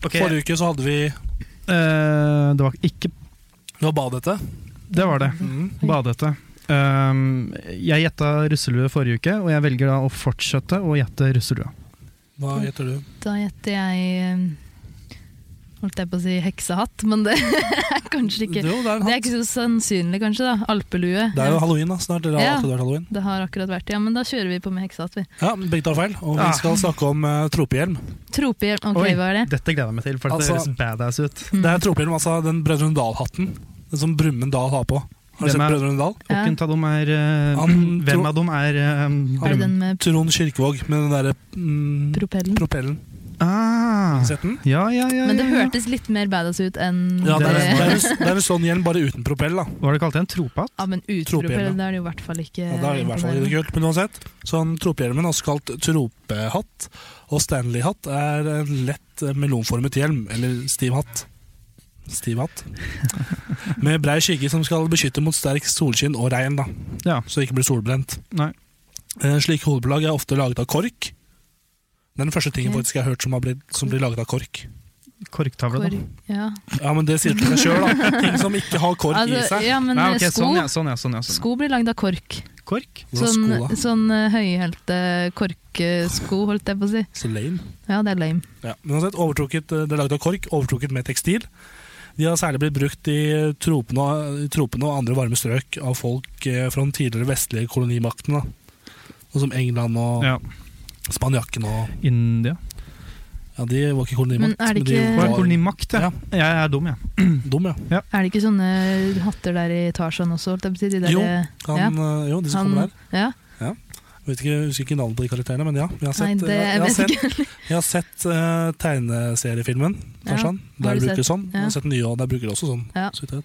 Ok, Forrige uke så hadde vi eh, det var ikke Det var badehette. Det var det. Badehette. Um, jeg gjetta russelue forrige uke, og jeg velger da å fortsette å gjette russelue. Hva gjetter du? Da gjetter jeg eh, Holdt jeg på å si heksehatt, men det er kanskje ikke Jo, det er en Det er hatt. ikke så sannsynlig, kanskje. da Alpelue. Det er jo halloween da, snart. Eller har Ja. alltid vært halloween. Det har akkurat vært, ja, men da kjører vi på med heksehatt, vi. Ja, men Begge tar feil. Og vi Ah. skal snakke om eh, tropehjelm. Tropehjelm, ok, Oi. hva er det? Dette gleder jeg meg til, for Altså- det høres badass ut. Det er tropehjelm, altså den Brødrene Dal-hatten. Den som Brumund Dal har på. Har du Hvem sett er- Brødrene Dal? Ja. Hvilken av dem er eh, Han Hvem tror- av dem er eh, Er det drømmen? den med Trond Kirkevåg med den derre mm, propellen? propellen. Ah, Sett den? Ja, ja, ja. Men det ja, ja. hørtes litt mer badass ut enn Ja, det er, det, er, en- det er en sånn hjelm, bare uten propell. da Hva har du kalt det? En tropatt? Ja, men uten Tropehjelm, propell, ja. det er det jo i hvert fall ikke. Ja, det er i hvert fall ikke kult, men uansett. Sånn Tropehjelmen, også kalt tropehatt, og Stanley-hatt er en lett eh, melonformet hjelm, eller stiv hatt. Stiv hatt. Med brei skygge som skal beskytte mot sterk solskinn og regn, da. Ja. så det ikke blir solbrent. Nei. Eh, Slike hodeplagg er ofte laget av kork. Det er den første tingen Ok. faktisk jeg har hørt som, har blitt, som blir laget av kork. Korktavle, Hvor, da. ja. Ja, men Det sier du til deg sjøl, da. Ting som ikke har kork i Altså, seg. ja, men Nei, eh, ok, sko, sånn, ja, sånn, ja, sånn, ja, sånn. sko blir lagd av kork. Kork? Hvordan Sånn, sko, da? sånn eh, høyhælte korksko, holdt jeg på å si. Så lame. Ja, det er lame. Ja, men uansett, overtrukket, eh, det er laget av kork, overtrukket med tekstil. De har særlig blitt brukt i tropene og, i tropene og andre varme strøk av folk eh, fra den tidligere vestlige kolonimakten. Da. Sånn som England og Ja. Spanjakken og India. Ja, de var ikke Men kolonimakt, er det ikke- Det men var de en var kolonimakt, ja. Jeg er dum, jeg. dum, ja. Er det ikke sånne hatter der i Tarzan også, holdt jeg på å si? De der, Jo, eh, Han, ja, eh, Jo, de som han- kommer der. Ja, Jeg vet ikke, jeg husker ikke navnet på de karakterene, men ja. Jeg har nei, sett, det jeg, har vet sett, jeg ikke. jeg har sett eh, tegneseriefilmen, Ja, Tarzan. har der du bruker sett? det sånn. Jeg Ja. har sett den nye, og der bruker det også sånn. Ja. Så vidt jeg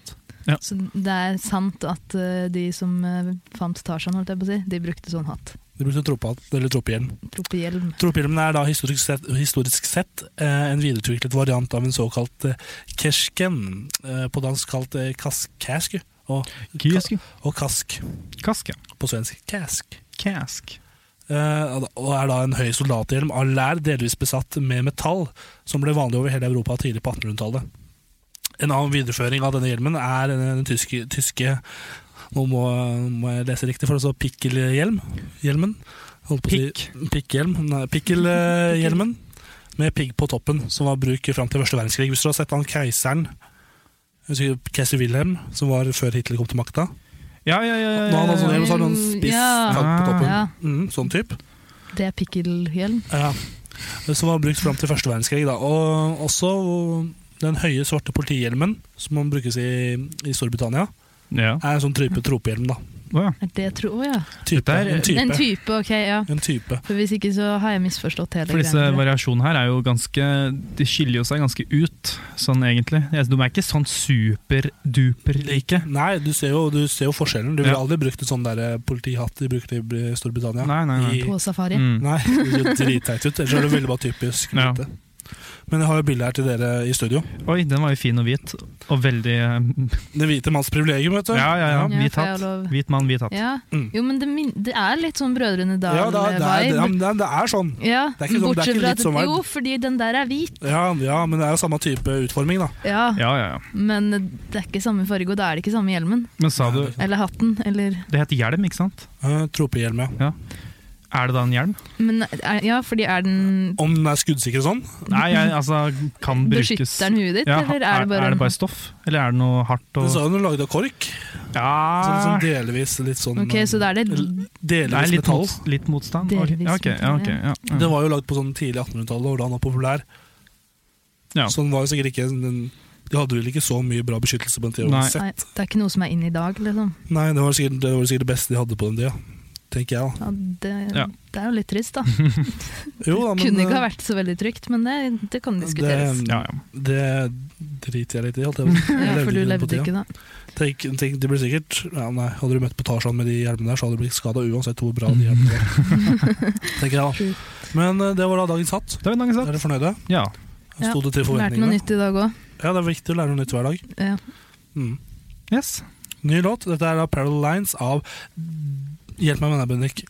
vet. Så det er sant at eh, de som eh, fant Tarzan, holdt jeg på å si, de brukte sånn hatt. De brukte tropehatt, eller tropehjelm. Tropehjelm. Tropehjelmen er da historisk sett, historisk sett eh, en videreutviklet variant av en såkalt eh, kersken, eh, på dansk kalt eh, kask, kask og, Kysk. og kask Kask, ja. på svensk. Kask. Kask. Eh, og da- og er da en høy soldathjelm av lær, delvis besatt med metall, som ble vanlig over hele Europa tidlig på 1800-tallet. En annen videreføring av denne hjelmen er den, den tyske, tyske Nå må, må jeg lese riktig, for det står pikkelhjelm. Hjelmen. Holdt på å si- Pikkhjelm. Nei, pikkelhjelmen. Med pigg på toppen, som var bruk fram til første verdenskrig. Hvis du har sett han keiseren, jeg husker ikke, keiser Wilhelm, som var før Hitler kom til makta. Ja, ja, ja. Nå har han sånn hjelm, så har han sånn spiss Mm, Ja. takk Ah. på toppen. Ja, Mm, sånn type. det er pikkelhjelm. Ja. Som var brukt fram til første verdenskrig. Da. Og også den høye svarte politihjelmen, som man brukes i, i Storbritannia, ja. er en sånn type tropehjelm. Da. Å, ja. Er det tro... Å ja. Type, Dette er- en type. En type, ok, ja. En type. For hvis ikke så har jeg misforstått hele For disse greia. variasjonene her er jo ganske De skiller jo seg ganske ut, sånn egentlig. Jeg- De er ikke sånn super-duper-like. Nei, du ser jo, du ser jo forskjellen. Du ville Ja. aldri brukt en sånn der eh, politihatt de brukte i Storbritannia. Nei, nei, nei. I- På safari. Mm. Nei, det ser jo dritteit ut. Ellers er det veldig bare typisk. Ja. hvite. Men jeg har jo bilde her til dere i studio. Oi, den var jo fin og hvit. Og veldig eh, Det hvite manns privilegium, vet du. Ja, ja, ja. Ja, Hvit får jeg hatt. lov? Hvit mann, hvit hatt. Ja. Mm. Jo, men det, min det er litt sånn Brødrene Ja, det, er, det, er, det, Dal-vibe. er, det er sånn. Ja, Det er ikke sånn- det er bortsett ikke fra litt at sånn vibe. Jo, fordi den der er hvit. Ja, ja, men det er jo samme type utforming, da. Ja, Ja, ja, ja. Men det er ikke samme farge, og da er det ikke samme hjelmen. Men sa du Eller hatten, eller Det heter hjelm, ikke sant? Eh, Tropehjelm, ja. Er det da en hjelm? Men er, ja, fordi er den Om den er skuddsikker og sånn? Nei, jeg, altså Kan brukes Beskytter den huet ditt, Ja, eller er det bare, en- stoff? Eller er det noe hardt Den og sa jo den var laget av kork. Sånn, sånn Ja delvis litt sånn Ah. Ok, så da er det Delvis Det er litt, metall. mot, litt motstand? Ok, Delvis ja, ok, ja, ok, ja. ja. Den var jo lagd på sånn tidlig 1800-tallet, hvor da han var populær. Ja. Så den var jo sikkert ikke den, De hadde vel ikke så mye bra beskyttelse på den tida Nei. Nei, uansett. det er ikke noe som er inn i dag, liksom. Nei, det var, sikkert, det var sikkert det beste de hadde på den tida. Tenker jeg, da. Ja, det, Ja. det er jo litt trist, da. Jo, da, men, Kunne ikke ha eh, vært så veldig trygt, men det, det kan diskuteres. Det, ja, ja. det driter jeg litt i. Alt jeg, jeg ja, for du i den på levde tida. ikke da. Tenk, tenk, det blir sikkert ja, nei, Hadde du møtt på Tarzan med de hjelmene der, så hadde du blitt skada uansett hvor bra de hjelmene var. Tenker jeg, True. da. Men eh, det var da dagens hatt. Det var en lang Er sak. dere fornøyde? Ja. Ja, Sto det til Lærte noe forventningene? nytt i dag òg. Ja, det er viktig å lære noe nytt hver dag. Ja. Mm. Yes. Ny låt. Dette er da Parallel Lines av Hjelp meg med det, Bendik.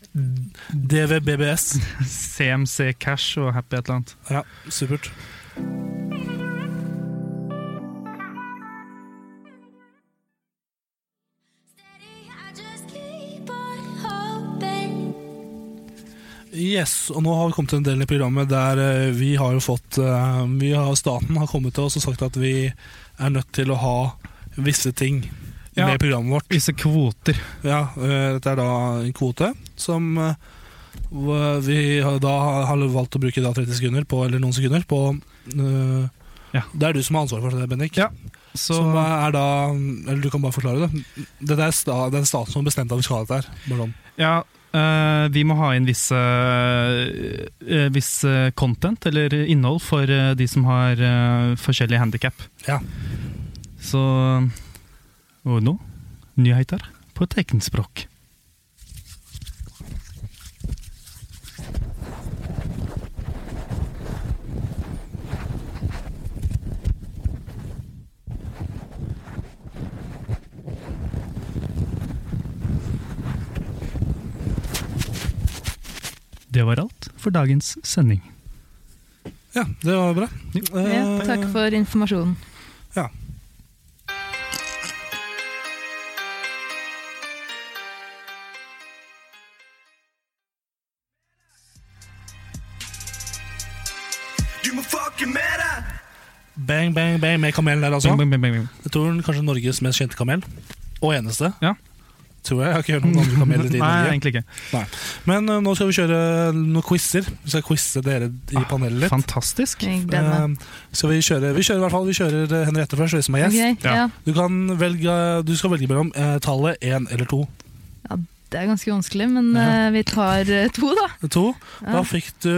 DVBBS. CMC Cash og Happy et eller annet. Ja, supert. Yes, og nå har vi kommet til en del i programmet der eh, vi har jo fått eh, vi har, Staten har kommet til oss og sagt at vi er nødt til å ha visse ting Ja. med programmet vårt. Visse kvoter. Ja, eh, Dette er da en kvote som eh, hvor vi har- da har valgt å bruke da 30 sekunder på, eller noen sekunder på eh, Ja. Det er du som har ansvaret for det, Bendik. Ja, Så Som er da Eller du kan bare forklare det. Dette er sta, det er staten som har bestemt at vi skal ha dette her. Bare sånn. ja, Eh, vi må ha inn visse, eh, visse content, eller innhold, for eh, de som har eh, forskjellige handikap. Ja. Så eh, Og nå nyheter på tegnspråk. Det var alt for dagens sending. Ja, det var bra. Ja, Eh, takk for informasjonen. Ja. Du må fucke med deg! Bang, bang, bang med kamelen der, altså. Bang, bang, bang, bang, bang. Jeg tror den kanskje er Norges mest kjente kamel. Og eneste. Ja. Tror jeg. Jeg har ikke hørt noen andre kameler i Nei, Norge. egentlig ikke. Nei. Men eh, nå skal vi kjøre noen quizer. Vi skal quize dere Ah, i panelet litt. Fantastisk. Jeg gleder meg. Eh, skal vi kjøre Vi kjører i hvert fall Vi kjører eh, Henriette først, vi som er gjest. Ok, ja. Du, kan velge, du skal velge mellom eh, tallet én eller to. Ja, det er ganske vanskelig, men eh, vi tar eh, to, da. To. Ja. Da fikk du,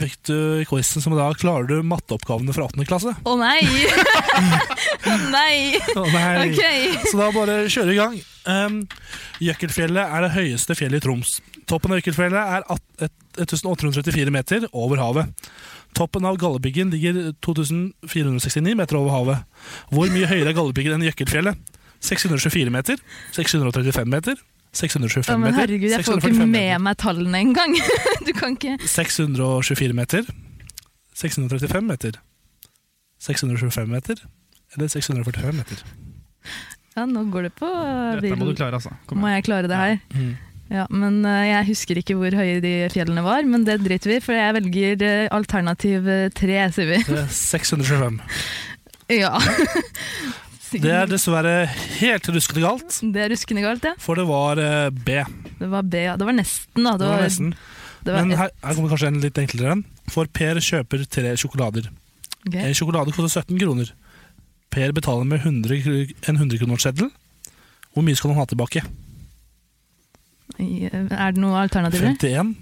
fikk du quizen som da klarer du matteoppgavene fra 8. klasse. Å nei! Å nei! Å, nei. Ok. Så da bare kjøre i gang. Um, Jøkkelfjellet er det høyeste fjellet i Troms. Toppen av Jøkkelfjellet er at- et- 1834 meter over havet. Toppen av Galdhøpiggen ligger 2469 meter over havet. Hvor mye høyere er Galdhøpiggen enn Jøkkelfjellet? 624 meter? 635 meter? 625 Ja, men meter? herregud, jeg får ikke 645 meter? med meg tallene engang. Du kan ikke 624 meter? 635 meter? 625 meter? Eller 645 meter? Ja, nå går det på eh, Dette må vill- du klare, altså. Kom Må igjen. jeg klare det her? Mm. Ja, men eh, jeg husker ikke hvor høye de fjellene var, men det driter vi i, for jeg velger eh, alternativ eh, tre, sier vi. Det er 625. Ja. Det er dessverre helt ruskete galt. Det er ruskende galt, ja. For det var eh, B. Det var B, ja. Det var nesten, da. Det var nesten. det var Men ett. her, her kommer kanskje en litt enklere en. For Per kjøper tre sjokolader. Ok. En sjokolade koster 17 kroner. Per betaler med 100, kr- en 100-kroneseddel. Hvor mye skal han ha tilbake? I- Eh, Er det noe alternativer? 51,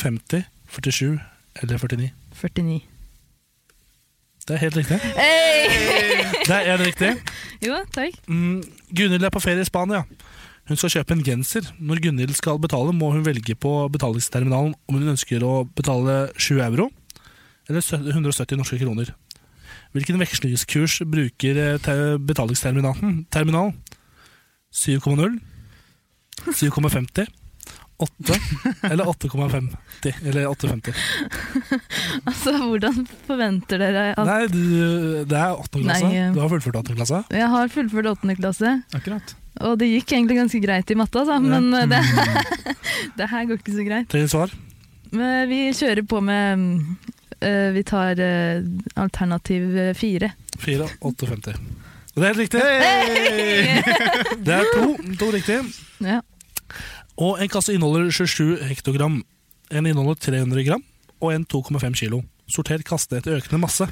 50, 47 eller 49? 49. Det er helt riktig. Det er helt riktig. Jo, takk. Mm, Gunhild er på ferie i Spania. Hun skal kjøpe en genser. Når Gunhild skal betale, må hun velge på betalingsterminalen om hun ønsker å betale 7 euro eller 170 norske kroner. Hvilken vekslingskurs bruker eh, te- betalingsterminalen? Terminal 7,0, 7,50, 8 eller 8,50? Eller 8,50. Altså, hvordan forventer dere at Nei, du, det er 8. klasse. Nei, eh. Du har fullført 8. klasse. Jeg har fullført åttende klasse, Akkurat. og det gikk egentlig ganske greit i matta, altså, men eh, det, Mm. det her går ikke så greit. Tredje svar. Men Eh, vi kjører på med mm, eh, Vi tar eh, alternativ eh, fire. 4, 8, 50. Og det er helt riktig! Det er to, to riktige. Ja. Og en kasse inneholder 27 hektogram. En inneholder 300 gram, og en 2,5 kilo. Sorter kaste etter økende masse.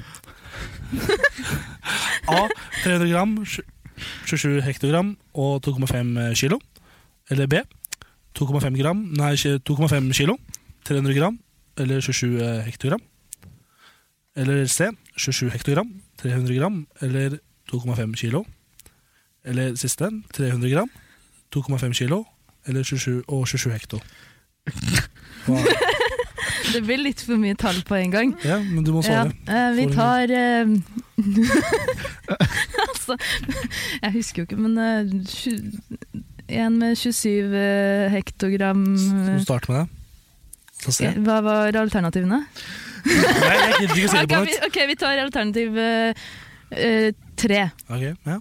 A. 300 gram, sju- 27 hektogram og 2,5 kilo. Eller B. 2,5 gram, nei, ikke 2,5 kilo, 300 gram eller 27 hektogram. Eller C. 27 hektogram, 300 gram eller 2,5 kilo. Eller siste, 300 gram, 2,5 kilo eller 27, og 27 hekto. Hva- Det blir litt for mye tall på en gang. Ja, men du må Ja, svare. eh, vi Får tar eh, Altså, jeg husker jo ikke, men eh, tju- en med 27 eh, hektogram Så eh, Start med det. Så se. Hva var alternativene? Nei, jeg gidder ikke å si det Ok, på vi, nytt. ok, vi tar alternativ eh, eh, tre. Ok, ja.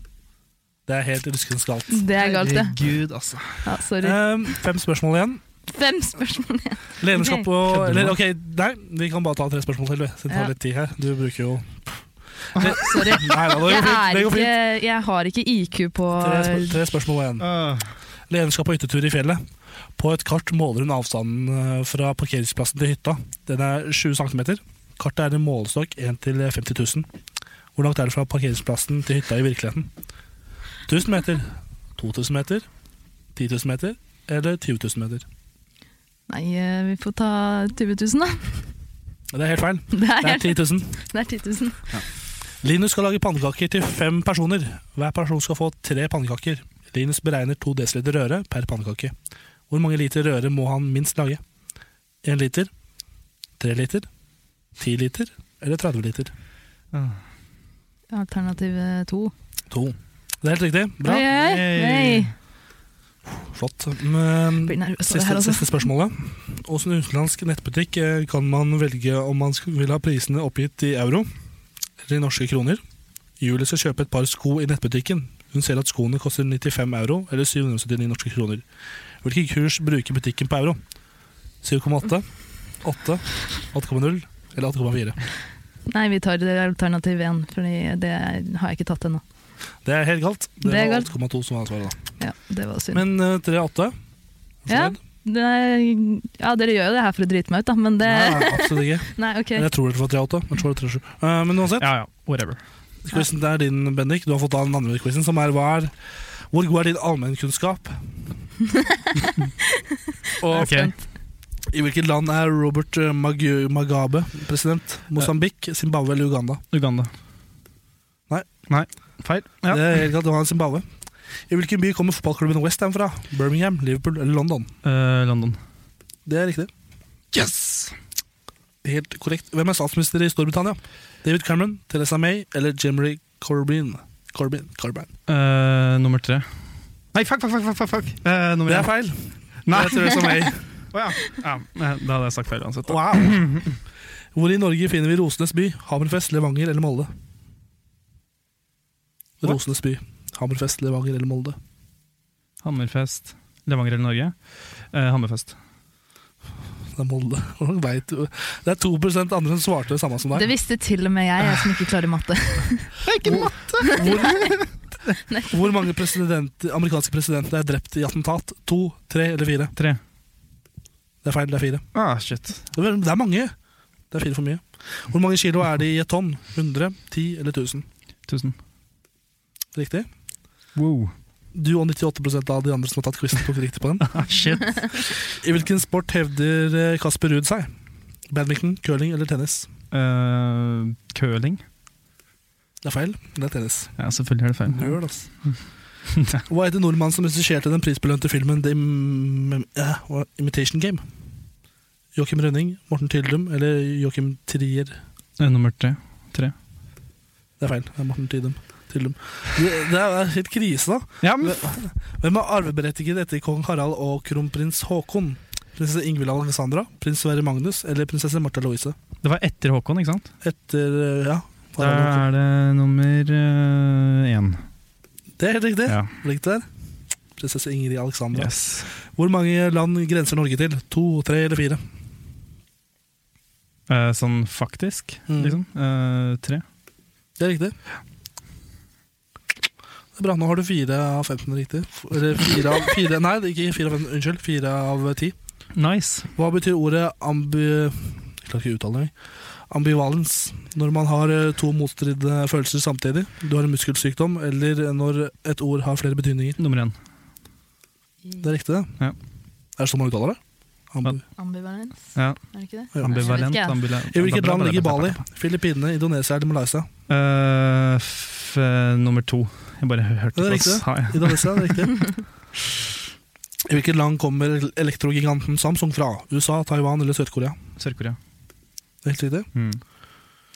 Det er helt ruskens galt. Det er galt, det. Herregud, altså. Ja, sorry. Ehm, fem spørsmål igjen. Fem spørsmål igjen. Lederskap Ok. og Kødder du eller, nå? Ok, nei, vi kan bare ta tre spørsmål til. vi. Så Det tar Ja. litt tid her. Du bruker jo Sorry. Nei da, det går Jeg, fint. er Det går ikke, fint. jeg har ikke IQ på Tre, spør tre spørsmål igjen. Ah. Levenskap og hyttetur i fjellet. På et kart måler hun avstanden eh, fra parkeringsplassen til hytta. Den er 20 cm. Kartet er en målestokk 1 til 50 000. Hvor langt er det fra parkeringsplassen til hytta i virkeligheten? 1000 meter, 2000 meter, 10 000 meter eller 20 000 meter? Nei, eh, vi får ta 20 000, da. Det er helt feil. Det er Det er 10 000. Det er 10 000. Linus skal lage pannekaker til fem personer. Hver person skal få tre pannekaker. Linus beregner 2 dl røre per pannekake. Hvor mange liter røre må han minst lage? 1 liter, 3 liter, 10 liter eller 30 liter? Alternativ eh, to. 2. Det er helt riktig. Bra. Oi, oi, oi. Flott. Men, Blir nervøs av det her, siste, altså. siste spørsmålet. Åssen utenlandsk nettbutikk eh, kan man velge om man sk- vil ha prisene oppgitt i euro eller i norske kroner? Julie skal kjøpe et par sko i nettbutikken. Hun ser at skoene koster 95 euro eller 779 norske kroner. Hvilke kurs bruker butikken på euro? 7,8, 8, 8,0 eller 8,4? Nei, vi tar det alternativ én, for det har jeg ikke tatt ennå. Det er helt galt. Det, Det er var galt. 8,2 som var svaret, da. Ja, det var synd. Men eh, 3,8 ja, det er, ja, dere gjør jo det her for å drite meg ut, da, men det Nei, absolutt ikke. Nei, ok. Men Jeg tror det var 3-8, men så var det 3-7. Eh, men uansett. Quizen det er din, Bendik. Du har fått da den andre quizen, som er, hva er Hvor god er din allmennkunnskap? Og i hvilket land er Robert eh, Magu- Mugabe president? Mosambik, Zimbabwe eller Uganda? Uganda. Nei. Feil. Det er helt klart, det var Zimbabwe. I hvilken by kommer fotballklubben West Ham fra? Birmingham, Liverpool eller London? Eh, London. Det er riktig. Yes! Helt korrekt. Hvem er statsminister i Storbritannia? David Cameron, Theresa May eller Jimmy Corbyn? Corbyn, Corbyn. Eh, nummer tre. Nei, fuck, fuck, fuck! fuck, fuck, fuck. Eh, nummer Det én. er feil. Nei. Det er Theresa May. Å ja. ja. eh, Da hadde jeg sagt feil uansett. da. Hvor i Norge finner vi Rosenes by? Hammerfest, Levanger eller Molde? Rosenes by. Hammerfest, Levanger eller Molde? Hammerfest. Levanger eller Norge? Eh, Hammerfest. Det er Molde. Hvordan vet du? Det er 2 andre som svarte det samme som Det deg. visste til og med jeg, jeg som ikke klarer matte. Hvor mange president, amerikanske presidenter er drept i attentat? To, tre eller fire? Tre. Det er feil, det er fire. Ah, shit. Det er, det er mange. Det er fire for mye. Hvor mange kilo er det i et tonn? 100, 10 eller 1000? Tusen. Riktig. Wow. Du og 98 av de andre som har tatt quizen, tok riktig på den. Ah, shit. I hvilken sport hevder eh, Kasper Ruud seg? Badminton, curling eller tennis? Eh, curling. Det er feil. Det er tennis. Ja, selvfølgelig er det feil. Gjør det, altså. Hva heter nordmannen som regisserte den prisbelønte filmen The Im eh, hva- Imitation Game? Joakim Rønning, Morten Tyldum eller Joakim Trier? Eh, nummer tre. Tre. Det er feil. Det er Morten Tyldum. Tyldum. Det, det er helt krise, da. Ja, men Hvem er arveberettiget etter kong Harald og kronprins Haakon? Prinsesse Ingvild Alexandra, prins Sverre Magnus eller prinsesse Martha Louise? Det var etter Håkon, ikke sant? Etter eh, ja. Da Harald og Håkon. er det nummer eh, én. Det er helt riktig. Ja. Flink der. Prinsesse Ingrid Alexandra. Yes. Hvor mange land grenser Norge til? To, tre eller fire? Eh, sånn faktisk, Mm. liksom. Eh, tre. Det er riktig. Det er bra. Nå har du fire av 15 riktig. Eller fire av fire, Nei, det er ikke fire av 15, unnskyld. Fire av ti. Nice. Hva betyr ordet ambi... Jeg klarer ikke å uttale det. Ambivalens. Når man har eh, to motstridende følelser samtidig. Du har en muskelsykdom, eller når et ord har flere betydninger. Nummer én. Det er riktig, det. Ja. Er det sånn man uttaler det? Ambi Ambivalens, Ja. er det ikke det? Ja. Ambivalent. Jeg vet ikke, jeg. ambulant- I hvilket land ligger Bali? Eh, Filippinene, Indonesia eller Malaysia? f eh, nummer to. Jeg bare hørte Det er oss. riktig. Ha, ja. Indonesia, det er riktig. I hvilket land kommer elektrogiganten Samsung fra? USA, Taiwan eller Sør-Korea? Sør-Korea. Det er Helt riktig. Mm.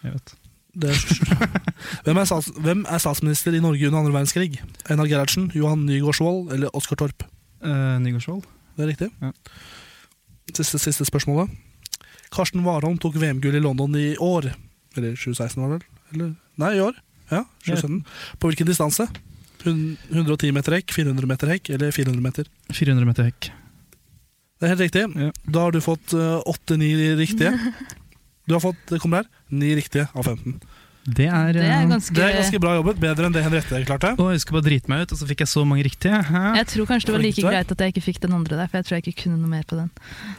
Jeg vet. Det er hvem, er stats hvem er statsminister i Norge under andre verdenskrig? Einar Gerhardsen, Johan Nygaardsvold eller Oskar Torp? Eh, Nygaardsvold. Det er riktig. Ja. Siste, siste spørsmålet. Karsten Warholm tok VM-gull i London i år. Eller 2016, var det vel? Eller? Nei, i år. Ja, 2017. På hvilken distanse? Hun- 110 meter hekk, 400 meter hekk eller 400 meter? 400 meter hekk. Det er helt riktig. Ja. Da har du fått åtte-ni riktige. Du har fått det kommer der, ni riktige av 15. Det er, eh, Det er ganske, Det er ganske bra jobbet. Bedre enn det Henriette klarte. Å, jeg skulle bare drite meg ut, og så fikk jeg så mange riktige. Hæ? Jeg tror kanskje det var like Flink der. greit at jeg ikke fikk den andre der, for jeg tror jeg ikke kunne noe mer på den.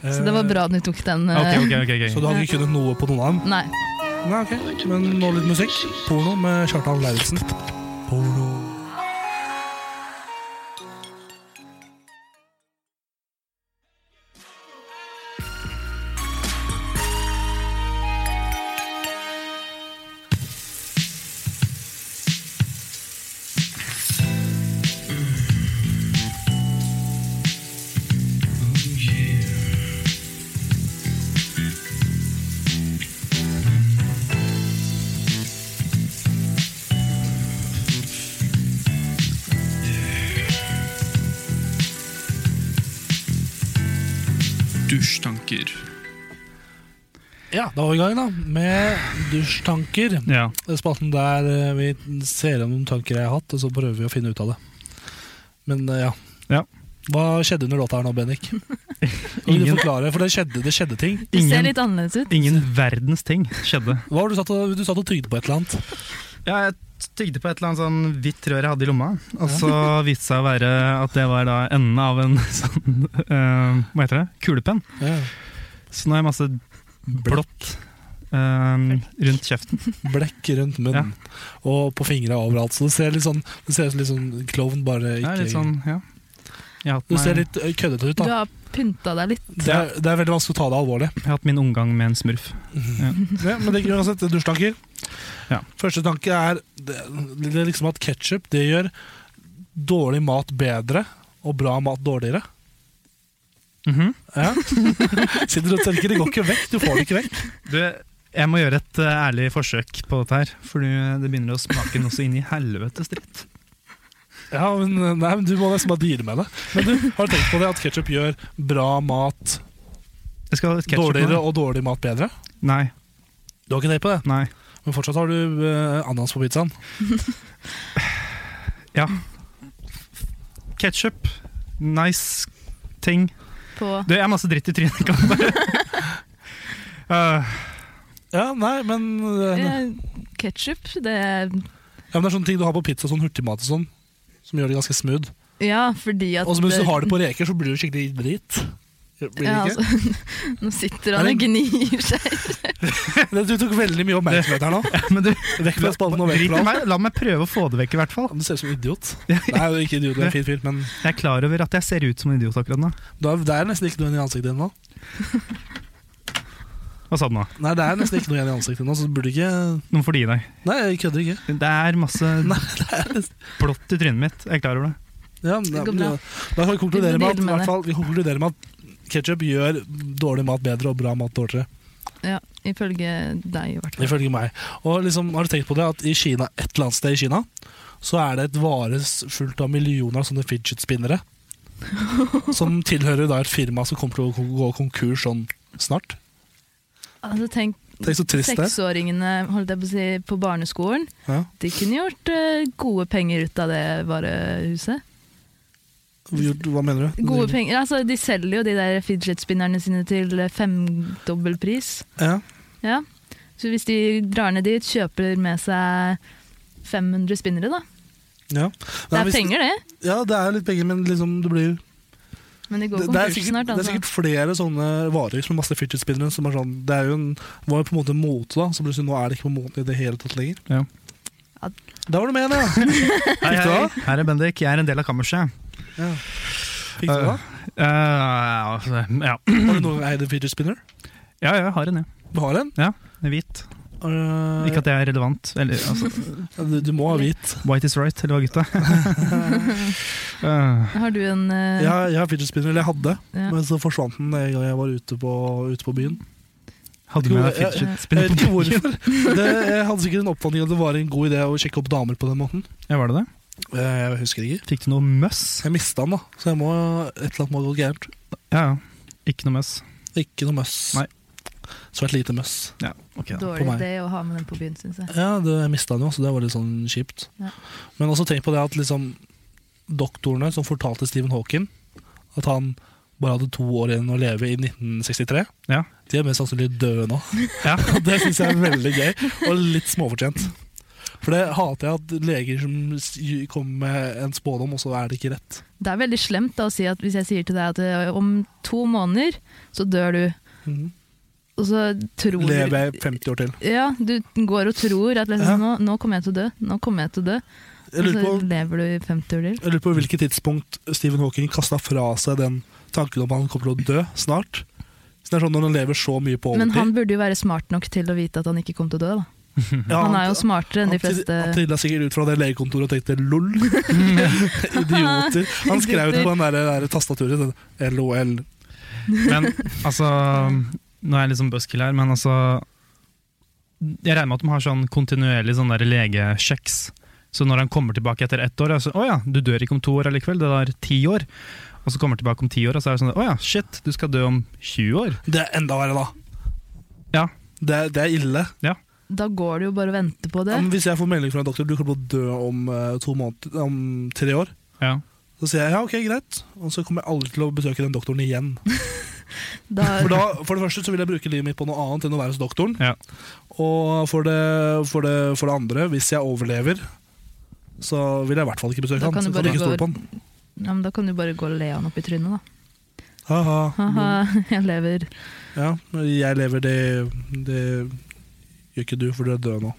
Så det var bra at du tok den. Ok, eh, ok, ok, ok. Så du hadde ikke kunnet noe på noen av dem? Nei. Nei, ok. Men nå litt musikk. Porno med Kjartan Lauritzen. Porno. Dusjtanker. Ja, da var vi i gang, da. Med dusjtanker. Ja. Det er spalten der eh, vi ser gjennom tanker jeg har hatt, og så prøver vi å finne ut av det. Men eh, ja. Ja. Hva skjedde under låta her nå, Bennik? Vil du Ingen- forklare, for det skjedde, det skjedde ting. Det ser litt annerledes ut. Ingen verdens ting skjedde. Hva var det du satt og, du satt og tygde på et eller annet? Ja, jeg tygde på et eller annet sånn hvitt rør jeg hadde i lomma, og så viste det seg å være at det var da enden av en sånn eh, Hva heter det? Kulepenn. Ja. Så nå har jeg masse blått eh, rundt kjeften. Blekk rundt munnen og på fingra overalt. Så det ser litt sånn Det ser ut som litt sånn klovn, bare ikke Ja, litt sånn, ja. Jeg har hatt, Du ser meg, litt eh, køddete ut, Du da. har pynta deg litt. Det er, det er veldig vanskelig å ta det alvorlig. jeg har hatt min omgang med en smurf. Ja. Ja, men det er uansett dusjtanker. Ja. Første tanke er det, det er liksom at ketsjup gjør dårlig mat bedre og bra mat dårligere. Mhm. Ja. Sitter og tenker, det går ikke vekk. Du får det ikke vekk. Du, jeg må gjøre et eh, ærlig forsøk på dette her, for det begynner å smake noe så inn i helvetes dritt. Ja, men, nei, men Du må nesten bare deale med det. Men du, Har du tenkt på det at ketsjup gjør bra mat Jeg skal ha et ketchup nå. dårligere og dårlig mat bedre? Nei, Du har ikke tenkt på det, nei. men fortsatt har du eh, ananas på pizzaen. Ketchup, nice ting. På Du, jeg har masse dritt i trynet. Kan jeg bare. Eh, Ja, nei, men, eh, ketsjup. Det ja, men Det er sånne ting du har på pizza, sånn hurtigmat og sånn, som gjør det ganske smooth. Ja, fordi at Og så hvis du har det på reker, så blir du skikkelig drit. Blir det ja, ikke? altså, Nå sitter han Er og det- gnir seg. Det- Du tok veldig mye oppmerksomhet her nå. men du, Vekk fra spalten og vekk drit i fra alt. meg. La meg prøve å få det vekk, i hvert fall. Du ser ut som en idiot. Nei, du er ikke idiot, du er en fin fyr, men Jeg er klar over at jeg ser ut som en idiot akkurat nå. da- det er nesten ikke noe igjen i ansiktet ditt nå. Hva sa du nå? Nei, det er nesten ikke noe igjen i ansiktet ditt nå, så du burde ikke Noen får det gi deg. Nei, jeg kødder ikke. Det er masse Nei, det er nesten blått i trynet mitt. Jeg er klar over det. ja, men- Det går men- bra. Da kan vi konkludere med at, Vi må deale med i hvert det. fall, vi konkluderer med at ketsjup gjør dårlig mat bedre og bra mat dårligere. Ja, ifølge deg, i hvert fall. Ifølge meg. Og liksom, har du tenkt på det at i Kina, et eller annet sted i Kina så er det et vare s- fullt av millioner av sånne fidget spinnere. som tilhører da et firma som kommer til å kon- gå konkurs sånn snart. Altså, tenk, Tenk så trist det er. seksåringene holdt jeg på, å si, på barneskolen. Ja. De kunne gjort eh, gode penger ut av det varehuset. Gjort- Hva mener du? Gode penger, altså De selger jo de der fidget-spinnerne sine til eh, femdobbel pris. Ja. Ja. Så hvis de drar ned dit, kjøper med seg 500 spinnere, da. Ja. Det Nei, er hvis- penger, det. Ja, det er litt penger, men liksom det blir Men det går det, det, er konkurs sikkert, snart. det er Altså. sikkert flere sånne varehus med masse fidget spinnere som er sånn Det er jo en, var jo på en måte mote, da, så plutselig nå er det ikke på mote i det hele tatt lenger. Ja. Ja. Da var du med, da! Hei, Fikk du hei. det? Her er Bendik. Jeg er en del av kammerset. Ja. Fikk du det? Eh, ja, ja. Har du noen gang eid en fidget spinner? ja, jeg har en, ja. Du har en? Den er Hvit. Øh, Ikke at det er relevant. Eller, altså, du, du må ha hvit. white is right, eller hva, gutta? Eh, Har du en eh, Jeg, har- jeg har fidget spinner, eller jeg hadde, ja. men så forsvant den en gang jeg var ute på, ute på byen. hadde du med deg fidget Jeg vet spinner? ikke hvorfor. Det, jeg hadde sikkert en oppfatning at det var en god idé å sjekke opp damer på den måten. Ja, var det det? Eh, Jeg husker ikke. Fikk du noe møss? Jeg mista den, da, så jeg må, et eller annet må gå gærent. Ja, ja. Ikke noe møss. Ikke noe møss. Nei. Svært lite møss. Ja, ok. da. på Dårlig meg. idé å ha med den på byen, syns jeg. Ja, det, jeg mista den jo, så det var litt sånn kjipt. Ja. Men også tenk på det at liksom doktorene som fortalte Stephen Hawking at han bare hadde to år igjen å leve i 1963, Ja. de er mest sannsynlig døde nå. Ja. Og det syns jeg er veldig gøy, og litt småfortjent. For det hater jeg at leger som s- kommer med en spådom, og så er det ikke rett. Det er veldig slemt da, å si at hvis jeg sier til deg at eh, om to måneder så dør du, Mhm. og så tror Lever du jeg 50 år til. ja, du går og tror at liksom, Ja. nå, nå kommer jeg til å dø, nå kommer jeg til å dø. Jeg Og lurer så på lever du i 50 år til. Altså- Jeg lurer på hvilket tidspunkt Stephen Hawking kasta fra seg den tanken om han kommer til å dø snart. Så det er sånn Når han lever så mye på Men overtid han burde jo være smart nok til å vite at han ikke kom til å dø. Da. Ja, Han er jo smartere enn de han til- fleste Han trilla sikkert ut fra det legekontoret og tenkte lol. Idioter. Han skrev det på den der, der tastaturet. sånn, LOL. Men altså Nå er jeg litt sånn buskill her, men altså Jeg regner med at de har sånn kontinuerlig sånn der altså, legesjekks. Så når han kommer tilbake etter ett år, er det sånn, å ja, du dør ikke om to år allikevel, det tar ti år. og så kommer han tilbake om ti år, og så er det sånn Å ja, shit, du skal dø om 20 år. Det er enda verre, da. Ja. Det, det er ille. Da går det jo bare å vente på det. Ja, men hvis jeg får melding fra en doktor du kommer til å dø om, eh, to måneder, om tre år, Ja. så sier jeg ja, ok, greit. Og så kommer jeg aldri til å besøke den doktoren igjen. Da, For, da, for det første så vil jeg bruke livet mitt på noe annet enn å være hos doktoren. Ja. Og for det, for, det, for det andre, hvis jeg overlever, så vil jeg i hvert fall ikke besøke Da han. kan så du kan bare jeg ikke stole gå- på han. ja, men da kan du bare gå og le han opp i trynet, da. Haha. Haha, jeg lever. Ja, jeg lever, det, det gjør ikke du, for du er død nå.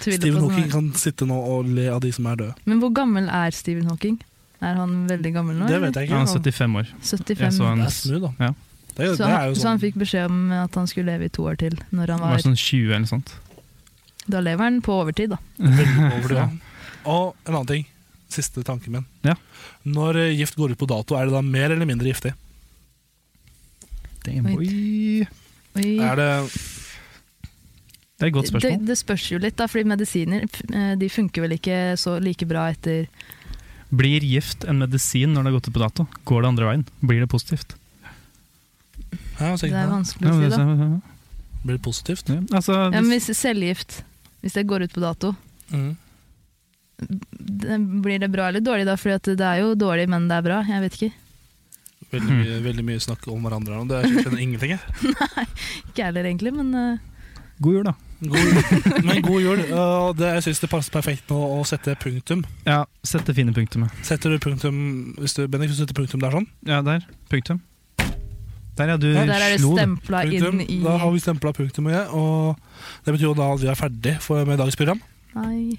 Tviler på Stephen sånn Hawking her. kan sitte nå og le av de som er døde. Men hvor gammel er Stephen Hawking? Er han veldig gammel nå? Det vet jeg Ja, han ikke. er 75 år. Jeg 75. så han Det er snu, da. Mm. Ja. Det, er- Så det er han, jo så han sånn. fikk beskjed om at han skulle leve i to år til. Når han var var, sånn 20 eller noe sånt. da lever han på overtid, da. Veldig over det, Ja. ja. Og en annen ting. Siste tanken min. Ja. Når eh, gift går ut på dato, er det da mer eller mindre giftig? Damn, Oi. boy. Oi. Er det Det er et godt Det, spørsmål. det spørs jo litt, da, fordi medisiner f- eh, de funker vel ikke så like bra etter Blir gift en medisin når det har gått ut på dato? Går det andre veien? Blir det positivt? ja, Det tenk på er det. vanskelig å si, det, da. Blir det positivt? ja. Altså, Ja, men hvis, hvis cellegift Hvis det går ut på dato, Mm. det- blir det bra eller dårlig da? Fordi at det er jo dårlig, men det er bra. Jeg vet ikke. Veldig, mye, Mhm. veldig mye snakk om hverandre her nå. Det er jeg skjønner ingenting, jeg. Ikke jeg heller, egentlig, men eh, god jul, da. God, men god jul. og det, jeg syns det passer perfekt nå å sette punktum. Ja, Sett det fine punktumet. Setter du punktum hvis du, Bendik, hvis du setter punktum der sånn? Ja, der. Punktum. Der, ja. Du der er det slo det. stempla Punktum. inn i Da har vi stempla punktumet, ja, og det betyr jo da at vi er ferdig for, med dagens program. Nei.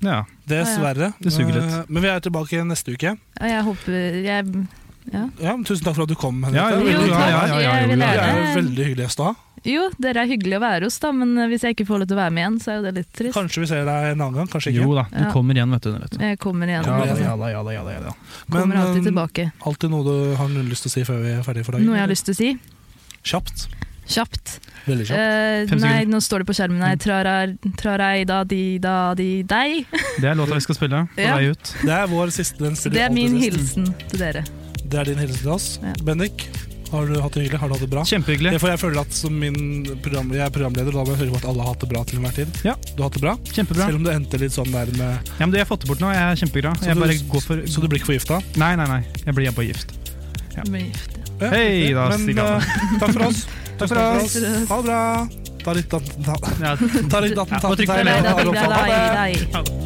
Ja. Dessverre. Det suger litt. Eh, Men vi er tilbake neste uke. Ja, jeg håper jeg, Ja, men tusen takk for at du kom. Henriette. Ja, jo, Jo, ja, ja, ja, ja, takk, jeg vil jo, Du ja, er ja. jo gjerne. veldig hyggelig gjest å ha. Jo, dere er hyggelige å være hos, da, men eh, hvis jeg ikke får lov til å være med igjen, så er jo det litt trist. Kanskje vi ser deg en annen gang, kanskje ikke. Jo da, du Ja. kommer igjen, vet du. Vet du. Jeg kommer igjen. Ja, altså. da, ja da, ja da, ja da. Kommer Men, alltid eh, tilbake. Alltid noe du har noe lyst til å si før vi er ferdige for dagen? Noe jeg har lyst til å si? Kjapt. Kjapt. Veldig kjapt. Eh, Fem nei, nå står det på skjermen her. Trarar, trarai, da, di, da, di, dei. Det er låta vi skal spille på Ja. vei ut. Det er vår siste den Så spiller det er alltid min sist. hilsen til dere. Det er din hilsen til oss. Ja. Bendik, har du hatt det hyggelig? Har du hatt det bra? Det Kjempehyggelig. er for jeg føler at som min program, Jeg er programleder, og da må jeg høre på at alle har hatt det bra til enhver tid. Ja. Du har hatt det bra? Kjempebra. Selv om det endte litt sånn der med Ja, men det har jeg fått det bort nå. Jeg er kjempeglad. Så Jeg du- bare går for Så du blir ikke forgifta? Nei, nei, nei. Jeg blir bare gift. Ja. Jeg blir gift. Ja, Hei da, men, Stig Anne. eh, Takk for oss. Takk for Takk oss. for oss. Ha det bra. Ta litt datten, ta, Ja. ta litt datten, Ja, ta og litt trykk på datten, ta Trarai, da, litt di, da, datten. Ha det. dei, dei.